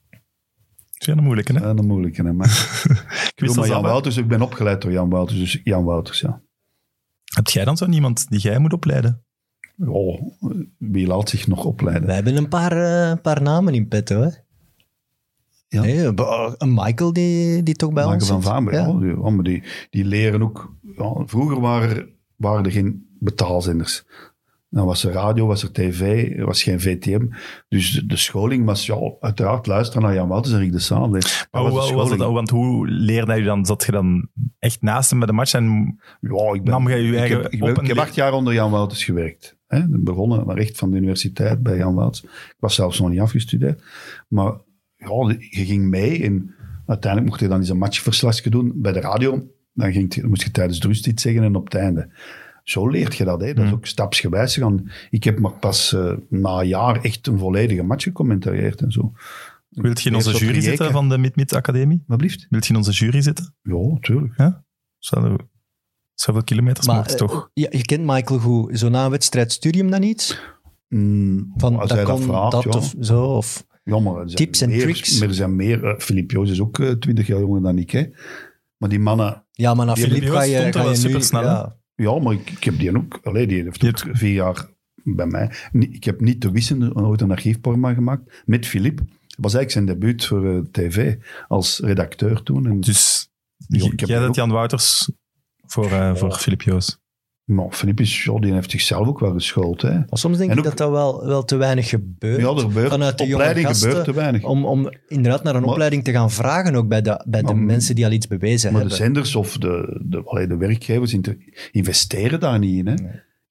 A: Dat is wel een moeilijke, hè?
C: Ja, een moeilijke,
B: <laughs>
C: hè, maar.
A: Ik
C: Ik
A: wist
C: bedoel,
A: dat
C: maar Jan
A: zelf wel.
C: Wouters, ik ben opgeleid door Jan Wouters, dus Jan Wouters, ja.
A: Heb jij dan zo niemand die jij moet opleiden?
C: Oh, wie laat zich nog opleiden?
B: We hebben een paar, eh, een paar namen in petto. Hè?
C: Ja.
B: Nee, b- een Michael die, die toch bij
C: Maken
B: ons
C: van
B: zit.
C: Vaanberg,
B: Ja.
C: ja. die- ja, maar die, die leren ook... ja, vroeger waren er, waren er geen betaalzenders. Dan was er radio, was er tv, er was geen VTM. Dus de, de scholing was, ja, uiteraard luisteren naar Jan Wouters en Rick de Saal. Dat
A: Maar
C: was de
A: hoe was
C: scholing.
A: dat? dan? Oh, Want hoe leerde je dan? Zat je dan echt naast hem bij de match en
C: Ja, ik ben,
A: nam jij je
C: Ik
A: eigen
C: heb, ik, ben-
A: op-
C: ik heb acht jaar onder Jan Wouters gewerkt. Hè? Begonnen, maar echt van de universiteit bij Jan Wouters. Ik was zelfs nog niet afgestudeerd. Maar ja, je ging mee en uiteindelijk mocht je dan eens een matchverslagje doen bij de radio. Dan, ging, het- moest je tijdens de rust iets zeggen en op het einde. Zo leert je dat, hè? dat is
A: Hmm.
C: ook stapsgewijs gegaan. Ik heb maar pas eh, na een jaar echt een volledige match gecommentarieerd en zo.
A: Wilt je in onze
C: Eerst wat
A: jury
C: gejeken.
A: zitten van de Mid-Mid Academie?
C: Wat blieft?
A: Wilt je in onze jury zitten?
C: Ja, tuurlijk.
A: Zo- Zoveel kilometers
B: Maar,
A: maakt het
B: eh,
A: toch?
B: Ja, je kent Michael goed. Zo na een wedstrijd stuur je hem dan iets?
C: Mm,
B: Van,
C: als
B: dat
C: hij
B: kon,
C: vraagt,
B: dat
C: ja.
B: of zo? Of...
C: Jammer. Er zijn
B: Tips en
C: meer-
B: tricks.
C: Er zijn meer. eh, Filip Joos is ook twintig jaar jonger dan ik. Hè. Maar die mannen.
B: Ja, maar na
A: Die
B: Filip
A: Libios
B: ga je,
A: stond
B: ga
A: wel
B: je nu...
A: supersnel, hè?
B: ja.
C: Ja, maar ik, ik heb die ook. Allee, die heeft ook vier jaar bij mij. Ni- Ik heb niet te wissen ooit een archiefporma gemaakt met Filip. Dat was eigenlijk zijn debuut voor eh, tv als redacteur toen. En,
A: Dus
C: Ja,
A: j-
C: ik heb
A: jij zet
C: dat ook.
A: Jan Wouters voor, eh, voor Filip Joos.
C: maar Filip is, ja, die heeft zichzelf ook wel geschoold. Hè.
B: Maar soms denk
C: En
B: ik
C: ook-
B: dat dat wel, wel te weinig gebeurt.
C: Ja, er gebeurt,
B: Vanuit de jonge
C: opleiding
B: gasten,
C: gebeurt te weinig.
B: om, om inderdaad naar een
C: Maar-
B: opleiding te gaan vragen, ook bij de, bij de
C: Maar-
B: mensen die al iets bewezen
C: Maar de
B: hebben.
C: zenders of de, de, allee, de werkgevers inter- investeren daar niet in. Hè?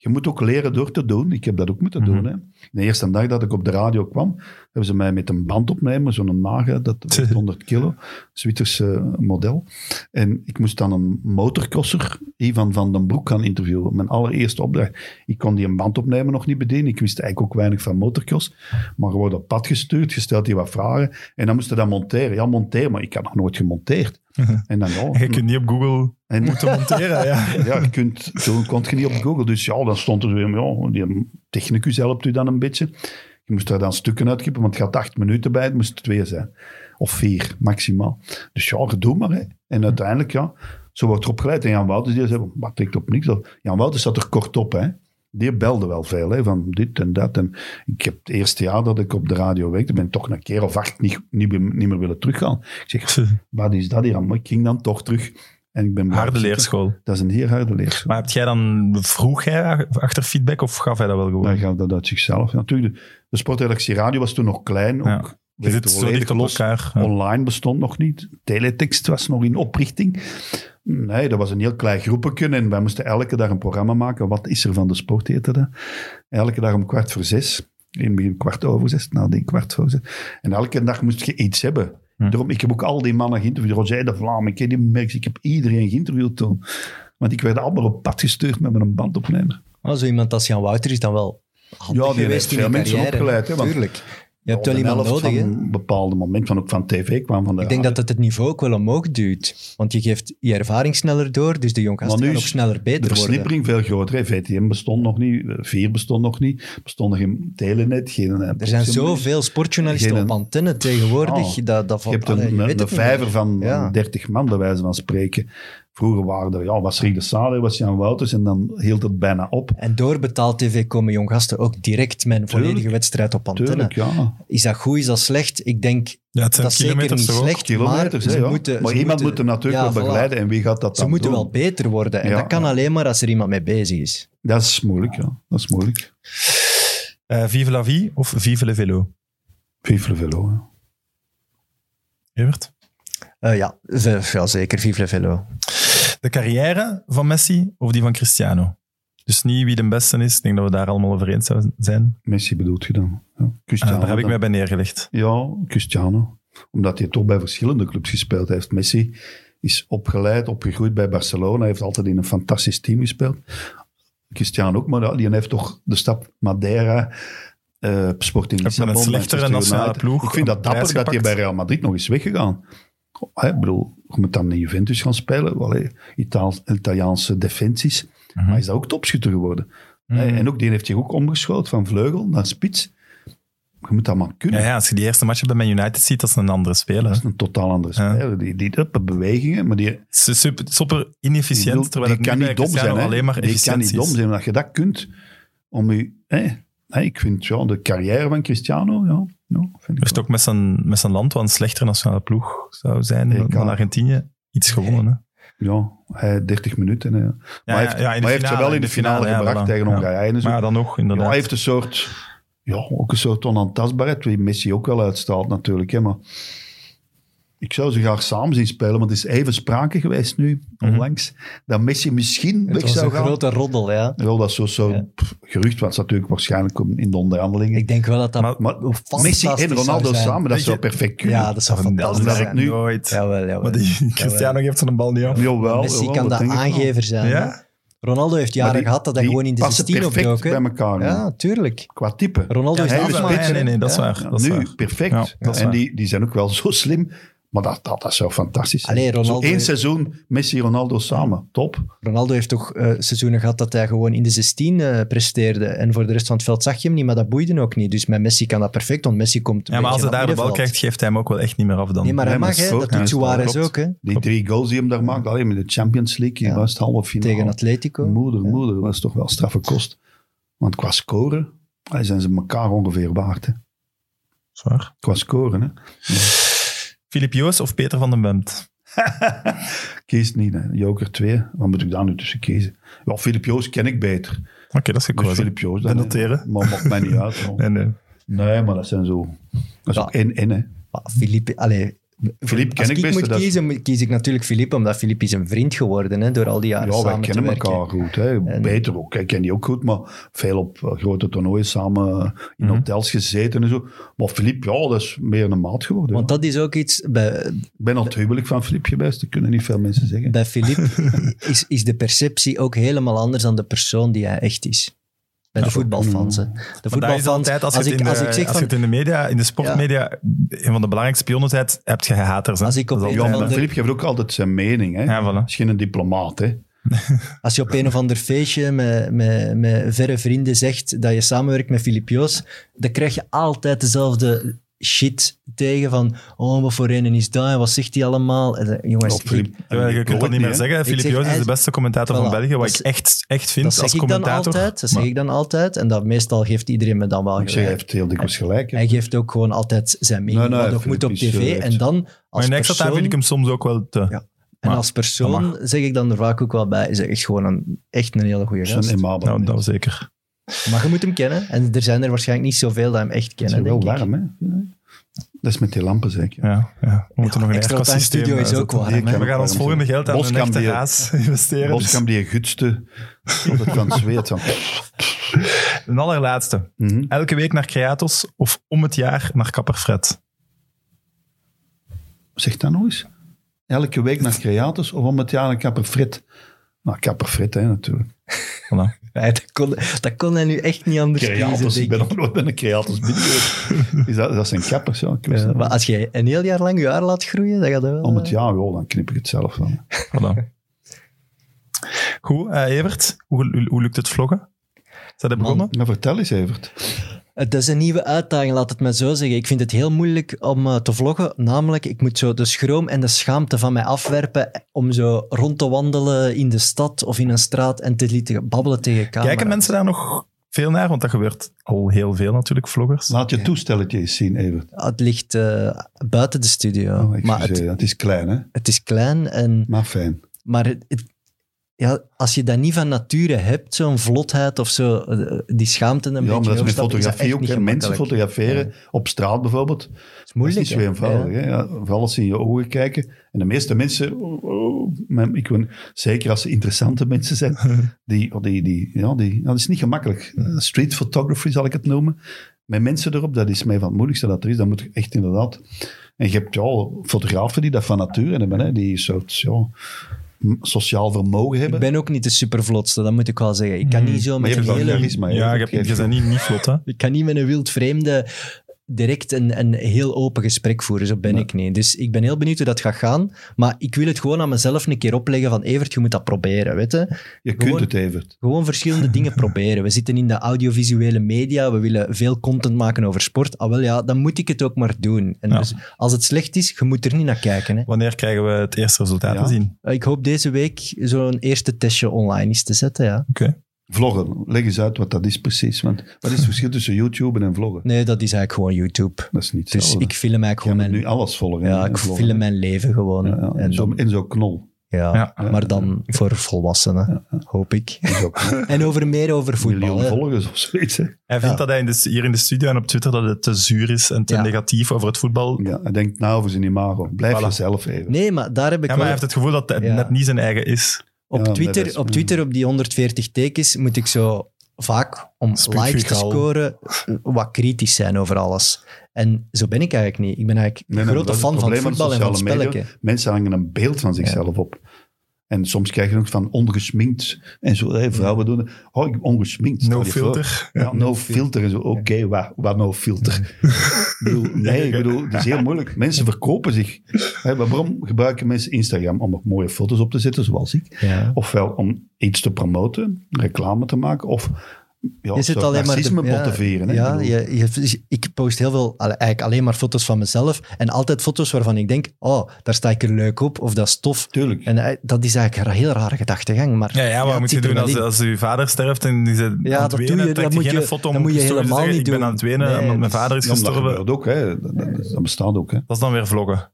C: Je moet ook leren door te doen. Ik heb dat ook moeten
A: Mhm.
C: doen. Hè? De eerste dag dat ik op de radio kwam, hebben ze mij met een band opnemen, zo'n nage, dat weegt 100 kilo, Zwitserse eh, model. En ik moest dan een motorkosser, Ivan van den Broek, gaan interviewen. Mijn allereerste opdracht. Ik kon die een band opnemen nog niet bedienen. Ik wist eigenlijk ook weinig van motorkos. Maar gewoon op pad gestuurd, gesteld die wat vragen. En dan moest je dat monteren. Ja, monteer, maar ik had nog nooit
A: <laughs>
C: gemonteerd. En dan, ja,
A: En je kunt niet op Google
C: en, <laughs>
A: moeten monteren, ja.
C: ja, je kunt, toen kon je niet op Google. Dus ja, dan stond er weer, ja, die technicus helpt u dan een beetje. Je moest daar dan stukken uitkippen, want het gaat acht minuten bij, het moest twee zijn. Of vier, maximaal. Dus ja, doe maar. Hè. En uiteindelijk, ja, zo wordt er opgeleid. En Jan Wouters, die zei, wat trekt op niks. op." Jan Wouters zat er kort op, hè. Die belde wel veel, hè, van dit en dat. En ik heb het eerste jaar dat ik op de radio werkte, ben ik toch een keer of acht niet, niet, niet meer willen teruggaan. Ik zeg, wat is dat hier? Maar ik ging dan toch terug. En ik ben blijven
A: Harde
C: zitten.
A: leerschool.
C: Dat is een heel harde leerschool.
A: Maar heb jij dan, vroeg jij achter feedback of gaf hij dat wel gewoon?
C: Dan gaat dat uit zichzelf. Natuurlijk, de, de sportredactie radio was toen nog klein.
A: Ja.
C: Ook,
A: je
C: bleef
A: zit zo dicht
C: volledig
A: op
C: los.
A: elkaar. Ja.
C: Online bestond nog niet. Teletext was nog in oprichting. Nee, dat was een heel klein groepje en wij moesten elke dag een programma maken. Wat is er van de sport, heette dat. Elke dag om kwart voor zes. In het begin kwart over zes, nou denk kwart voor zes. En elke dag moest je iets hebben.
A: Hm.
C: Daarom, ik heb ook al die mannen geïnterviewd. Roger de Vlaam, ik ken die merks. Ik heb iedereen geïnterviewd toen. Want ik werd allemaal op pad gestuurd met mijn bandopnemer.
B: Maar zo iemand als Jan Wouter is dan wel handig
C: Ja, die
B: geweest
C: heeft
B: in
C: veel
B: de
C: mensen
B: carrière.
C: opgeleid, hè, want-
B: Tuurlijk. Je hebt wel
C: De
B: iemand
C: helft
B: nodig, hè.
C: van een bepaald moment, van ook van tv kwam. Van de
B: Ik denk dat het het niveau ook wel omhoog duwt. Want je geeft je ervaring sneller door, dus de jong gasten
C: Maar nu
B: gaan ook
C: is
B: sneller
C: De
B: beter worden.
C: versnippering veel groter. hè. VTM bestond nog niet, eh, Vier bestond nog niet, er bestond geen telenet, geen... eh,
B: Er zijn zoveel sportjournalisten
C: Geen-
B: op antenne tegenwoordig.
C: Oh,
B: dat, dat
C: Je
B: valt-
C: hebt
B: Allee,
C: een,
B: weet
C: een,
B: het
C: een
B: niet
C: vijver
B: meer.
C: van
B: Ja.
C: 30 man, bij wijze van spreken. Vroeger waren er, ja, was Rick de Sade, was Jan Wouters en dan hield het bijna op.
B: En door betaald tv komen jong gasten ook direct met een
C: Tuurlijk.
B: volledige wedstrijd op antenne.
C: Tuurlijk, ja.
B: Is dat goed, is dat slecht? Ik denk,
A: Ja, het zijn
B: dat is zeker
A: kilometers
B: niet
A: toch ook?
B: slecht, maar
C: Kilometers, hè,
B: ze
C: ja.
B: moeten...
C: maar
B: ze
C: iemand
B: moeten-
C: moet hem natuurlijk
B: ja,
C: wel
B: voilà.
C: begeleiden en wie gaat dat
B: Ze
C: dan
B: moeten
C: doen?
B: wel beter worden. En
C: Ja,
B: dat kan
C: ja.
B: alleen maar als er iemand mee bezig is.
C: Dat is moeilijk, ja. Dat is moeilijk.
A: Eh, vive la vie of vive le vélo?
C: Vive le velo, hè.
A: Evert?
B: Eh, ja, v- ja, zeker. Vive le velo.
A: De carrière van Messi of die van Cristiano? Dus niet wie de beste is. Ik denk dat we daar allemaal over eens zouden zijn.
C: Messi bedoelt je dan. Ja.
A: Ah,
C: Cristiano
A: daar heb ik
C: dan.
A: mij bij neergelegd.
C: Ja, Cristiano. Omdat hij toch bij verschillende clubs gespeeld heeft. Messi is opgeleid, opgegroeid bij Barcelona. heeft altijd in een fantastisch team gespeeld. Cristiano ook, maar die heeft toch de stap Madeira, eh Sporting
A: Met
C: Lissabon,
A: een slechtere
C: Manchester
A: nationale
C: United.
A: eh, ploeg.
C: Ik vind
A: een
C: dat
A: prijs
C: dapper dat hij bij
A: gepakt.
C: Real Madrid nog is weggegaan. Oh, hè, Ik bedoel, je moet dan in Juventus gaan spelen. Allee, Itaal- Italiaanse defensies.
A: Mhm.
C: Maar is dat ook topschutter geworden.
A: Hmm.
C: Hè, En ook die heeft zich ook omgeschoten van vleugel naar spits. Je moet dat maar kunnen.
A: Ja, ja, als je die eerste match bij Man United ziet, dat is een andere speler.
C: Dat
A: hè.
C: is een totaal andere
A: Ja.
C: speler. Die, die dat bewegingen, maar die,
A: Ze- Super, super
C: die,
A: inefficiënt,
C: bedoel,
A: terwijl
C: die
A: het
C: kan
A: nu
C: niet
A: bij
C: dom
A: Cristiano
C: zijn. Hè?
A: alleen maar
C: die kan niet
A: efficiëntie
C: dom
A: is.
C: zijn. Als je dat kunt, om je... Hè, hè, ik vind ja, de carrière van Cristiano, ja, ja vind ik
A: heeft
C: wel.
A: ook met zijn, met zijn land, wat een slechtere nationale ploeg zou zijn,
C: EK.
A: van Argentinië, iets gewonnen. Hè?
C: Ja, hij 30 minuten. Hè. Maar hij heeft, maar hij heeft ze wel in de finale, gebracht
A: Hongarije.
C: tegen Hongarije. en zo.
A: Maar ja, dan nog,
C: Ja,
A: inderdaad.
C: hij heeft een soort, ja, ook een soort onaantastbaarheid, die Messi ook wel uitstraalt natuurlijk. Hè, maar ik zou ze graag samen zien spelen, want het is even sprake geweest nu,
A: Mhm.
C: onlangs, dat Messi misschien
B: Het
C: weg
B: was een
C: zou gaan.
B: grote roddel, ja.
C: Wel, dat is zo'n soort
B: Ja.
C: pff, gerucht, was natuurlijk waarschijnlijk om- in de onderhandelingen.
B: Ik denk wel dat dat...
A: Maar-
C: maar
B: fantastisch
C: Messi en
B: zou
C: Ronaldo
B: zijn.
C: samen, dat
A: Weet
C: zou
A: je-
C: perfect kunnen.
B: ja, dat zou fantastisch
C: dat
A: dat
C: is
B: zijn.
A: ik
C: nu-
A: nooit.
B: Jawel, jawel.
A: Maar die Cristiano geeft zijn bal niet af.
C: Jawel,
B: Messi
C: jawel,
B: kan de
C: denk ik wel.
B: aangever zijn.
A: Ja?
B: hè. Ronaldo heeft
C: Maar
B: jaren
C: die-
B: gehad dat hij
C: die
B: gewoon in de
C: passen
B: 16
C: perfect
B: opdook. hè.
C: bij elkaar.
B: Ja, tuurlijk.
C: Qua type.
B: Ronaldo
A: Ja,
B: is
C: hij
B: niet
C: is
A: dat
B: van-
A: waar.
C: spits,
A: Nee, nee, nee, dat is
B: Ja.
A: waar. Dat is
C: nu,
A: waar.
C: perfect.
A: Ja, dat is
C: en
A: waar.
C: die, die zijn ook wel <laughs> zo slim. Maar dat, dat, dat zou fantastisch zijn.
B: Allee, Ronaldo-
C: Zo één seizoen, Messi Ronaldo samen. Top.
B: Ronaldo heeft toch eh, seizoenen gehad dat hij gewoon in de 16 eh, presteerde. En voor de rest van het veld zag je hem niet, maar dat boeide ook niet. Dus met Messi kan dat perfect, want Messi komt. een
A: Ja, maar als
B: beetje
A: hij daar
B: naar
A: de bal
B: middenveld.
A: krijgt, geeft hij hem ook wel echt niet meer af dan.
B: Nee, maar hij
C: Nee, maar
B: mag, hè?
C: het is
B: Dat
C: ook-
B: doet
C: ja,
B: Suarez
A: klopt.
B: ook, hè?
C: Die drie goals die hem daar maakt. Alleen met de Champions League.
B: Ja.
C: Die was het halve finale.
B: Tegen Atletico.
C: Moeder, moeder. was toch wel straffe kost. Want qua scoren allee, zijn ze elkaar ongeveer waard. Hè.
A: Zwaar.
C: Qua scoren. Hè.
A: Filip Joos of Peter van den Bemt?
C: Kies niet. Hè. Joker 2. Wat moet ik daar nu tussen kiezen? Ja, Filip Joos ken ik beter.
A: Oké, dat is
C: Dus
A: gekozen.
C: Filip Joos.
A: We
C: dan, hè.
A: noteren.
C: Maar maakt mij niet uit.
A: <laughs>
C: hoor.
A: Nee, nee.
C: Nee, maar dat zijn zo... Dat is
B: Ja.
C: ook één-één, hè.
B: Maar Philippe, allee,
C: Philippe ken
B: als
C: ik
B: ik
C: best,
B: moet
C: dat is-
B: kiezen, moet- kies ik natuurlijk Philippe, omdat Philippe is een vriend geworden hè, door al die jaren
C: Ja, wij
B: samen
C: kennen
B: te werken.
C: elkaar goed. Hè.
B: En-
C: Beter ook. Ik ken die ook goed, maar veel op eh, grote toernooien samen eh, in
A: Mhm.
C: hotels gezeten en zo. Maar Filip, ja, dat is meer een maat geworden.
B: Want
C: ja.
B: dat is ook iets, bij,
C: Ik ben al het huwelijk van Filip geweest, dat kunnen niet veel mensen zeggen.
B: bij
A: <laughs>
B: Philippe is, is de perceptie ook helemaal anders dan de persoon die hij echt is. Bij de voetbalfans. hè. De
A: Mm. Maar dat is
B: voetbalfans,
A: altijd, als,
B: als,
A: je het
B: ik,
A: in
B: als
A: de-
B: ik zeg
A: als je
B: van,
A: het in de media, in de sportmedia, een van de belangrijkste pionnen bent, heb je haters. Hè?
B: Als ik op
A: Dat is
B: een
C: ja,
A: altijd-
B: van
C: maar
B: de-
C: Filip geeft ook altijd zijn mening. Hè.
A: Ja, voilà.
C: Hij is geen diplomaat. Hè.
B: Als je op een of ander feestje met, met, met verre vrienden zegt dat je samenwerkt met Filip Joos, dan krijg je altijd dezelfde shit tegen van oh, wat voor een is dat en wat zegt hij allemaal? En, eh, jongens,
C: Of Filip-
B: ik-
A: Terwijl je
C: Ik
A: kunt
C: hoor
A: dat niet meer
C: hè.
A: zeggen. Filip
B: zeg
A: Joos is de
B: ijs-
A: beste commentator van
B: Voilà.
A: België. Wat
B: Dat
A: ik echt, echt
B: dat
A: vind
B: zeg
A: als
B: ik dan
A: commentator.
B: altijd, dat zeg
A: Maar
B: ik dan altijd en dat meestal geeft iedereen me dan wel
C: Ik zeg, hij
B: gelijk.
C: heeft heel dikwijls gelijk. hè.
B: Hij geeft ook gewoon altijd zijn mening,
C: Nee, nee,
B: wat ook
C: Filip
B: moet op
C: is,
B: tv
C: eh,
B: en dan
A: in
B: als
A: extra
B: persoon...
A: vind ik hem soms ook wel te.
B: Ja. En
A: Maar,
B: als persoon zeg ik dan er vaak ook wel bij, is hij echt gewoon een, echt een hele goede
C: Zo'n
B: gast.
C: Emaba.
A: Nou, dat
C: dat
A: was zeker.
B: Maar je moet hem kennen. En er zijn er waarschijnlijk niet zoveel die hem echt
C: is
B: kennen,
C: wel
B: denk ik.
C: warm, hè? Dat is met die lampen zeker.
A: Ja, ja. We moeten nog een
B: extra
A: aircost systeem
B: tuinstudio is
A: eh,
B: ook
A: zetten.
B: warm, hè.
A: We gaan ons volgende geld aan
C: Boskamp
A: een echte
C: die-
A: raas <laughs> investeren.
C: Boskamp die gutste altijd
A: <laughs>
C: van zweet. Van.
A: Dus Een allerlaatste.
C: Mhm.
A: Elke week naar Creatos of om het jaar naar Kapper Fred.
C: Zeg dat nog eens. Elke week naar Creators of om het jaar een kapper frit. Nou, kapper frit, hè, natuurlijk.
A: Voilà.
B: Ja, dat, kon, dat kon hij nu echt niet anders kiezen, denk
C: ik ben
B: ik.
C: nog nooit bij een Creators binnen geweest.
A: <laughs>
C: Is dat, dat zijn kappers, ja. ik wist
B: Ja,
C: dat.
B: maar als jij een heel jaar lang je haar laat groeien, dan gaat dat wel...
C: Om het
B: eh,
C: jaar, joh, dan knip ik het zelf dan.
A: voilà. Goed, eh, Evert, hoe, hoe, hoe lukt het vloggen? Zijn dat begonnen?
C: Maar vertel eens, Evert.
B: Het is een nieuwe uitdaging, laat het maar zo zeggen. Ik vind het heel moeilijk om eh, te vloggen. Namelijk, ik moet zo de schroom en de schaamte van mij afwerpen om zo rond te wandelen in de stad of in een straat en te lieten babbelen tegen camera.
A: Kijken mensen daar nog veel naar? Want dat gebeurt al heel veel natuurlijk, vloggers.
C: Laat je toestelletje eens zien, Evert.
B: Ah, Het ligt eh, buiten de studio.
C: Oh,
B: maar
C: excuseer,
B: het,
C: het is klein, hè.
B: het is klein en...
C: Maar fijn.
B: Maar het- het- ja, als je dat niet van nature hebt, zo'n vlotheid of zo, eh, die schaamte een
C: ja,
B: beetje
C: maar dat is met
B: overstappen, dat
C: fotografie
B: echt
C: ook.
B: niet
C: hè. Mensen
B: gemakkelijk.
C: fotograferen op straat bijvoorbeeld.
B: Het is moeilijk.
C: dat is niet zo
B: hè?
C: eenvoudig. Hè? Ja, vooral als ze in je ogen kijken. En de meeste mensen, oh, oh, maar ik wil, zeker als ze interessante mensen zijn, die, oh, die, die, ja, die, dat is niet gemakkelijk. Eh, Street photography zal ik het noemen. Met mensen erop, dat is mij van het moeilijkste dat er is. Dan moet je echt inderdaad... En je hebt ja, fotografen die dat van nature hebben, hè? die een soort ja, m- sociaal vermogen
B: <laughs> Ik
C: hebben.
B: ben ook niet de supervlotste, dat moet ik wel zeggen. Ik kan niet zo
C: Mm.
B: met
C: maar je
B: een
C: hebt wel
B: hele
C: charisma. hè.
A: ja, je, hebt- je bent niet, niet vlot, hè?
B: Ik kan niet met een wild vreemde direct een, een heel open gesprek voeren. Zo ben
C: Nee.
B: ik niet. Dus ik ben heel benieuwd hoe dat gaat gaan. Maar ik wil het gewoon aan mezelf een keer opleggen van Evert, je moet dat proberen, weet je.
C: Je kunt
B: Gewoon-
C: het, Evert.
B: Gewoon verschillende
C: <laughs>
B: dingen proberen. We zitten in de audiovisuele media, we willen veel content maken over sport. Ah wel ja, dan moet ik het ook maar doen. En
A: Ja.
B: dus als het slecht is, je moet er niet naar kijken. Hè. Eh,
A: Wanneer krijgen we het eerste resultaat
C: Ja.
A: te zien?
B: Ik hoop deze week zo'n eerste testje online is te zetten, ja.
A: Oké.
C: Vloggen, leg eens uit wat dat is precies. Want wat is het verschil tussen YouTube en vloggen?
B: Nee, dat is eigenlijk gewoon YouTube.
C: Dat is niet
B: Dus
C: hetzelfde.
B: ik film eigenlijk
C: Jij
B: gewoon
C: moet
B: mijn...
C: nu alles volgen.
B: Ja,
C: hè,
B: ik
C: vloggen.
B: film mijn leven gewoon.
C: Ja, dus ja.
B: En
C: En, zo,
B: dan-
C: en zo knol.
B: ja,
A: Ja.
B: maar dan voor volwassenen, hoop ik.
C: En zo knol.
B: <laughs> En over meer over voetbal.
C: miljoen
B: hè.
C: volgers of zoiets. Hè.
A: Hij vindt
B: Ja.
A: dat hij in de, hier in de studio en op Twitter dat het te zuur is en te
B: Ja.
A: negatief over het voetbal.
C: Ja, hij denkt na over zijn imago. Blijf
A: Voilà.
C: jezelf even.
B: Nee, maar daar heb ik
A: Ja, maar
B: wel-
A: hij heeft het gevoel dat het
B: Ja.
A: net niet zijn eigen is.
B: op,
C: Ja,
B: Twitter,
C: dat is-
B: op Twitter, op die 140 tekens, moet ik zo vaak om
A: Spikvigaal.
B: likes te scoren eh, wat kritisch zijn over alles. En zo ben ik eigenlijk niet. Ik ben eigenlijk
C: Nee, nee,
B: een
C: maar
B: grote
C: dat is het
B: fan van
C: probleem
B: voetbal en van
C: sociale media.
B: spelletje.
C: Mensen hangen een beeld van zichzelf op. En soms krijg je ook van ongesminkt. En zo, hè, vrouwen doen dat. Oh, ik ongesminkt. stel
A: No
C: je voor.
A: filter.
C: Ja, no filter en zo. Oké, wat, wat no filter? ik bedoel, nee, ik bedoel, het is heel
A: <laughs>
C: moeilijk. Mensen verkopen zich. Hè, maar waarom gebruiken mensen Instagram? Om er mooie foto's op te zetten, zoals ik.
B: Ja.
C: Ofwel om iets te promoten, reclame te maken, of ja,
B: Je zit
C: zo
B: alleen maar de-
C: narcisme
B: ja,
C: motiveren. hè. Ik
B: Ja,
C: bedoel,
B: je, je- ik post heel veel, alle- eigenlijk alleen maar foto's van mezelf. En altijd foto's waarvan ik denk, oh, daar sta ik er leuk op, of dat is tof.
C: Tuurlijk.
B: En eh, dat is eigenlijk een heel rare gedachtegang. Maar
A: Ja, ja, maar
B: het
A: moet je
B: zit er
A: doen
B: wel
A: als,
B: in.
A: als je vader sterft en die zit
B: Ja,
A: aan het
B: dat doe
A: wenen,
B: je,
A: trekt
B: dat
A: hij
B: moet
A: geen
B: je-
A: foto om
B: dat moet je
A: op story te
B: helemaal
A: zeggen,
B: niet
A: Ik ben
B: doen.
A: aan het wenen
B: Nee,
A: omdat mijn
B: dat is-
A: vader is
C: Ja, maar dat
A: gestorven.
C: gebeurt ook, hè. Dat, dat- dat bestaat ook. Hè.
A: Dat is dan weer vloggen.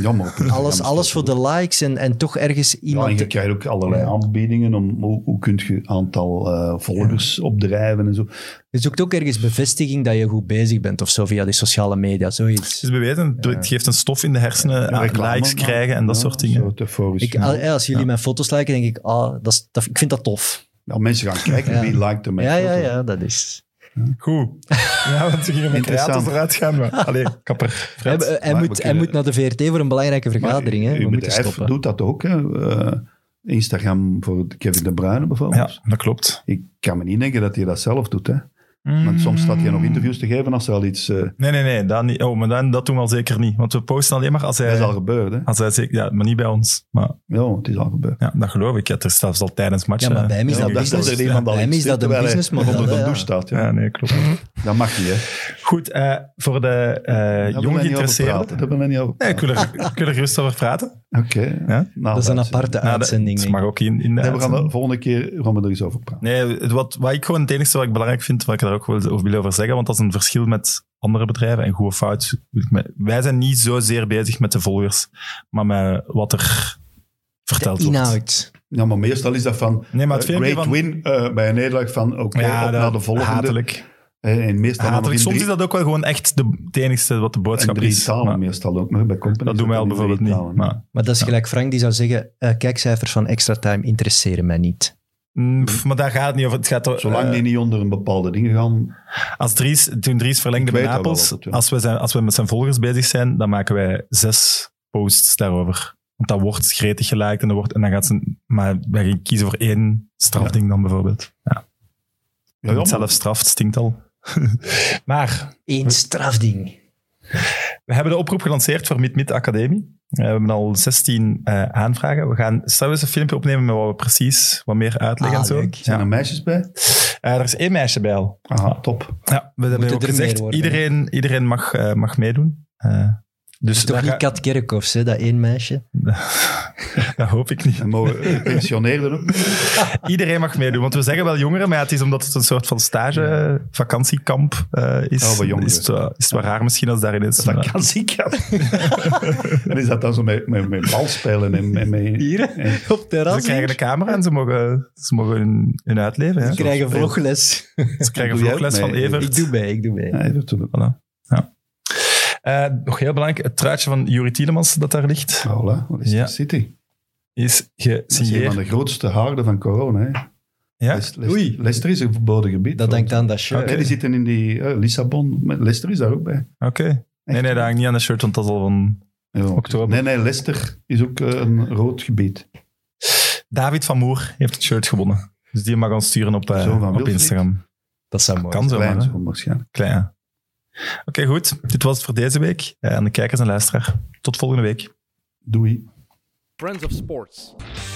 C: Jammer. op Instagram
B: alles,
C: bestaat
B: alles voor
C: ook.
B: de likes en, en toch ergens
C: Ja, en
B: iemand...
C: je krijgt ook allerlei aanbiedingen om hoe, hoe kun je aantal eh, volgers opdrijven en zo.
B: je zoekt ook ergens bevestiging dat je goed bezig bent of zo via die sociale media, zoiets.
A: Het is bewezen, het geeft een stof in de hersenen, aan
C: Reclame
A: likes
C: maken.
A: krijgen en dat
C: Ja,
A: soort dingen.
C: soort euforisch
B: ik,
C: gevoel.
B: al- ja, als jullie mijn foto's liken, denk ik, ah, dat is, dat, ik vind dat tof.
C: Ja, mensen gaan kijken
B: Ja.
C: wie liked hem.
B: Ja, ja, ja, dat is... <laughs>
A: Goed. Ja, want we gingen met
C: Interessant.
A: creators eruit gaan. Maar. Allee, kapper. Fred.
B: Hij, hij
C: maar we
B: moet, hij
C: kunnen-
B: moet naar de VRT voor een belangrijke vergadering. Hè.
C: Uw
B: We moeten
C: bedrijf
B: stoppen.
C: doet dat ook. Hè. Eh, Instagram voor Kevin De Bruyne
B: eh,
C: bijvoorbeeld.
A: Ja, dat klopt.
C: Ik kan me niet denken dat hij dat zelf doet. Hè. Want soms staat hij nog
B: Mm.
C: interviews te geven als er al iets... eh,
A: Nee, nee, nee. Dat, niet. Oh, maar dan, dat doen we al zeker niet. Want we posten alleen maar als
C: dat
A: hij...
C: is al gebeurd, hè.
A: Als hij zeker, ja, maar niet bij ons. Maar
C: Ja, het is al gebeurd.
A: ja, dat geloof ik. Ja, er is zelfs al tijdens
B: Ja,
A: matchen.
B: maar bij hem is
C: Ja,
B: dat
C: dat
B: business.
C: dat er iemand al
B: bij hem
C: iets
B: is dat
C: doet,
B: een
C: terwijl hij
B: businessmodel.
C: Onder de
B: hè,
C: douche
B: ja.
C: staat, ja.
A: dus, Ja, nee, klopt.
C: Dat mag niet, hè.
A: Goed, eh, voor de eh
C: Daar
A: jong
C: willen we niet over
A: geïnteresseerden.
C: praten. Daar willen we niet over
A: Nee, ik wil, er, ik wil er gerust over praten.
C: praten. Oké.
A: Ja?
C: Nou,
B: Dat is een
C: dat
B: aparte
A: Na de-
B: uitzending.
A: Het
B: denk ik.
A: mag ook in, in de
C: Ah, Nee, we gaan de
A: uitzending.
C: volgende keer gaan we er eens over praten.
A: Nee, het- wat, wat ik gewoon het enige wat ik belangrijk vind, wat ik daar ook wil, over wil over zeggen, want dat is een verschil met andere bedrijven en goed of fout. wil ik me- Wij zijn niet zozeer bezig met de volgers, maar met wat er verteld
B: de
A: wordt.
B: inhoud.
C: Ja, maar meestal is dat van
A: Nee, maar het
C: eh,
A: filmpje
C: great
A: van-
C: win eh, bij een nederlaag van oké,
A: Ja,
C: op
A: dat-
C: naar de volgende.
A: Hatelijk.
C: En, Eh, en meestal dan nog
A: hatelijk.
C: in
A: Soms
C: drie-
A: is dat ook wel gewoon echt de, het enigste wat de
C: in
A: boodschap
C: drie
A: is.
C: talen
A: Maar
C: meestal ook. Nog, bij company
A: dat
C: is
A: doen wij al
C: dan in drie
A: bijvoorbeeld niet.
C: talen,
A: Maar,
B: Maar dat is gelijk Frank die zou zeggen, eh, kijkcijfers van extra time interesseren mij niet.
A: Mm, pff, maar daar gaat het niet over. Het gaat er,
C: Zolang
A: eh,
C: die niet onder een bepaalde ding gaan,
A: Als Dries, toen Dries verlengde
C: Ik
A: bij
C: weet dat wel
A: Napels,
C: altijd, ja.
A: als, we zijn, als we met zijn volgers bezig zijn, dan maken wij zes posts daarover. Want dat wordt gretig geliked en, dat wordt, en dan gaat ze... Maar wij gaan kiezen voor één strafding dan bijvoorbeeld. Ja.
C: Ja, ja,
A: het zelf straft, stinkt al. <laughs> maar
B: Eén strafding.
C: Dus
A: we hebben de oproep gelanceerd voor Mid Mid Academie. Eh, We hebben al 16 eh, aanvragen. We gaan straks eens een filmpje opnemen met wat we precies wat meer uitleggen
B: Ah,
A: en zo.
B: leuk.
C: zijn
A: Ja.
C: er meisjes bij?
A: Eh, er is één meisje bij al.
C: Aha, top.
A: Ja, we hebben
B: Moeten
A: ook
B: er meer
A: gezegd,
B: worden, hè?
A: iedereen, iedereen mag, eh, mag meedoen. Eh, dus
B: Toch
A: daar
B: niet
A: ga-
B: Kat Kerkhoffs, hè, dat één meisje.
A: <laughs> Dat hoop ik niet.
C: En mogen
A: <laughs>
C: gepensioneerden ook.
A: Iedereen mag meedoen, want we zeggen wel jongeren, maar ja, het is omdat het een soort van stage, eh, vakantiekamp eh, is.
C: Oh, bij jongeren.
A: Is het, wel- is het wel raar misschien als daar ineens...
C: Dat kan ziek <laughs> En is dat dan zo met, met, met balspelen en met... met
B: Hier, op het terras.
A: Ze krijgen de camera en ze mogen, ze mogen hun, hun uitleven. hè.
B: Ze krijgen
C: spelen.
B: vlogles.
A: Ze krijgen
C: Doe jij ook
A: vlogles van
C: mee?
A: Evert.
B: Ik doe mee, ik doe mee.
C: ja, Everton ook.
A: Voilà. Ja. Eh, nog heel belangrijk, het truitje van Juri Tielemans dat daar ligt,
C: Voilà, wat is
A: Ja.
C: de City?
A: is
C: Dat is een van
A: gesigneerd.
C: de grootste haarden van corona. Hè.
A: Ja?
C: Leicester- Leicester- Leicester is een verboden gebied.
B: Dat denkt aan dat shirt.
C: Nee, die zitten in die eh, Lissabon. Maar Leicester is daar ook bij.
A: Oké. Nee, nee, dat hangt niet aan de shirt, want dat is al van...
C: Ja.
A: Oktober.
C: Nee, nee, Leicester is ook eh, een rood gebied.
A: David van Moer heeft het shirt gewonnen. Dus die mag ons sturen op, eh,
C: Zo van
A: op
C: Wilfried. Oh,
A: Instagram.
B: Dat zou mooi
A: Kan zo,
C: Klein
A: maar.
C: zo waarschijnlijk.
A: Klein, ja. Oké, goed. Dit was het voor deze week. Eh, Aan de kijkers en luisteraar. Tot volgende week.
C: Doei.
D: Friends of Sports.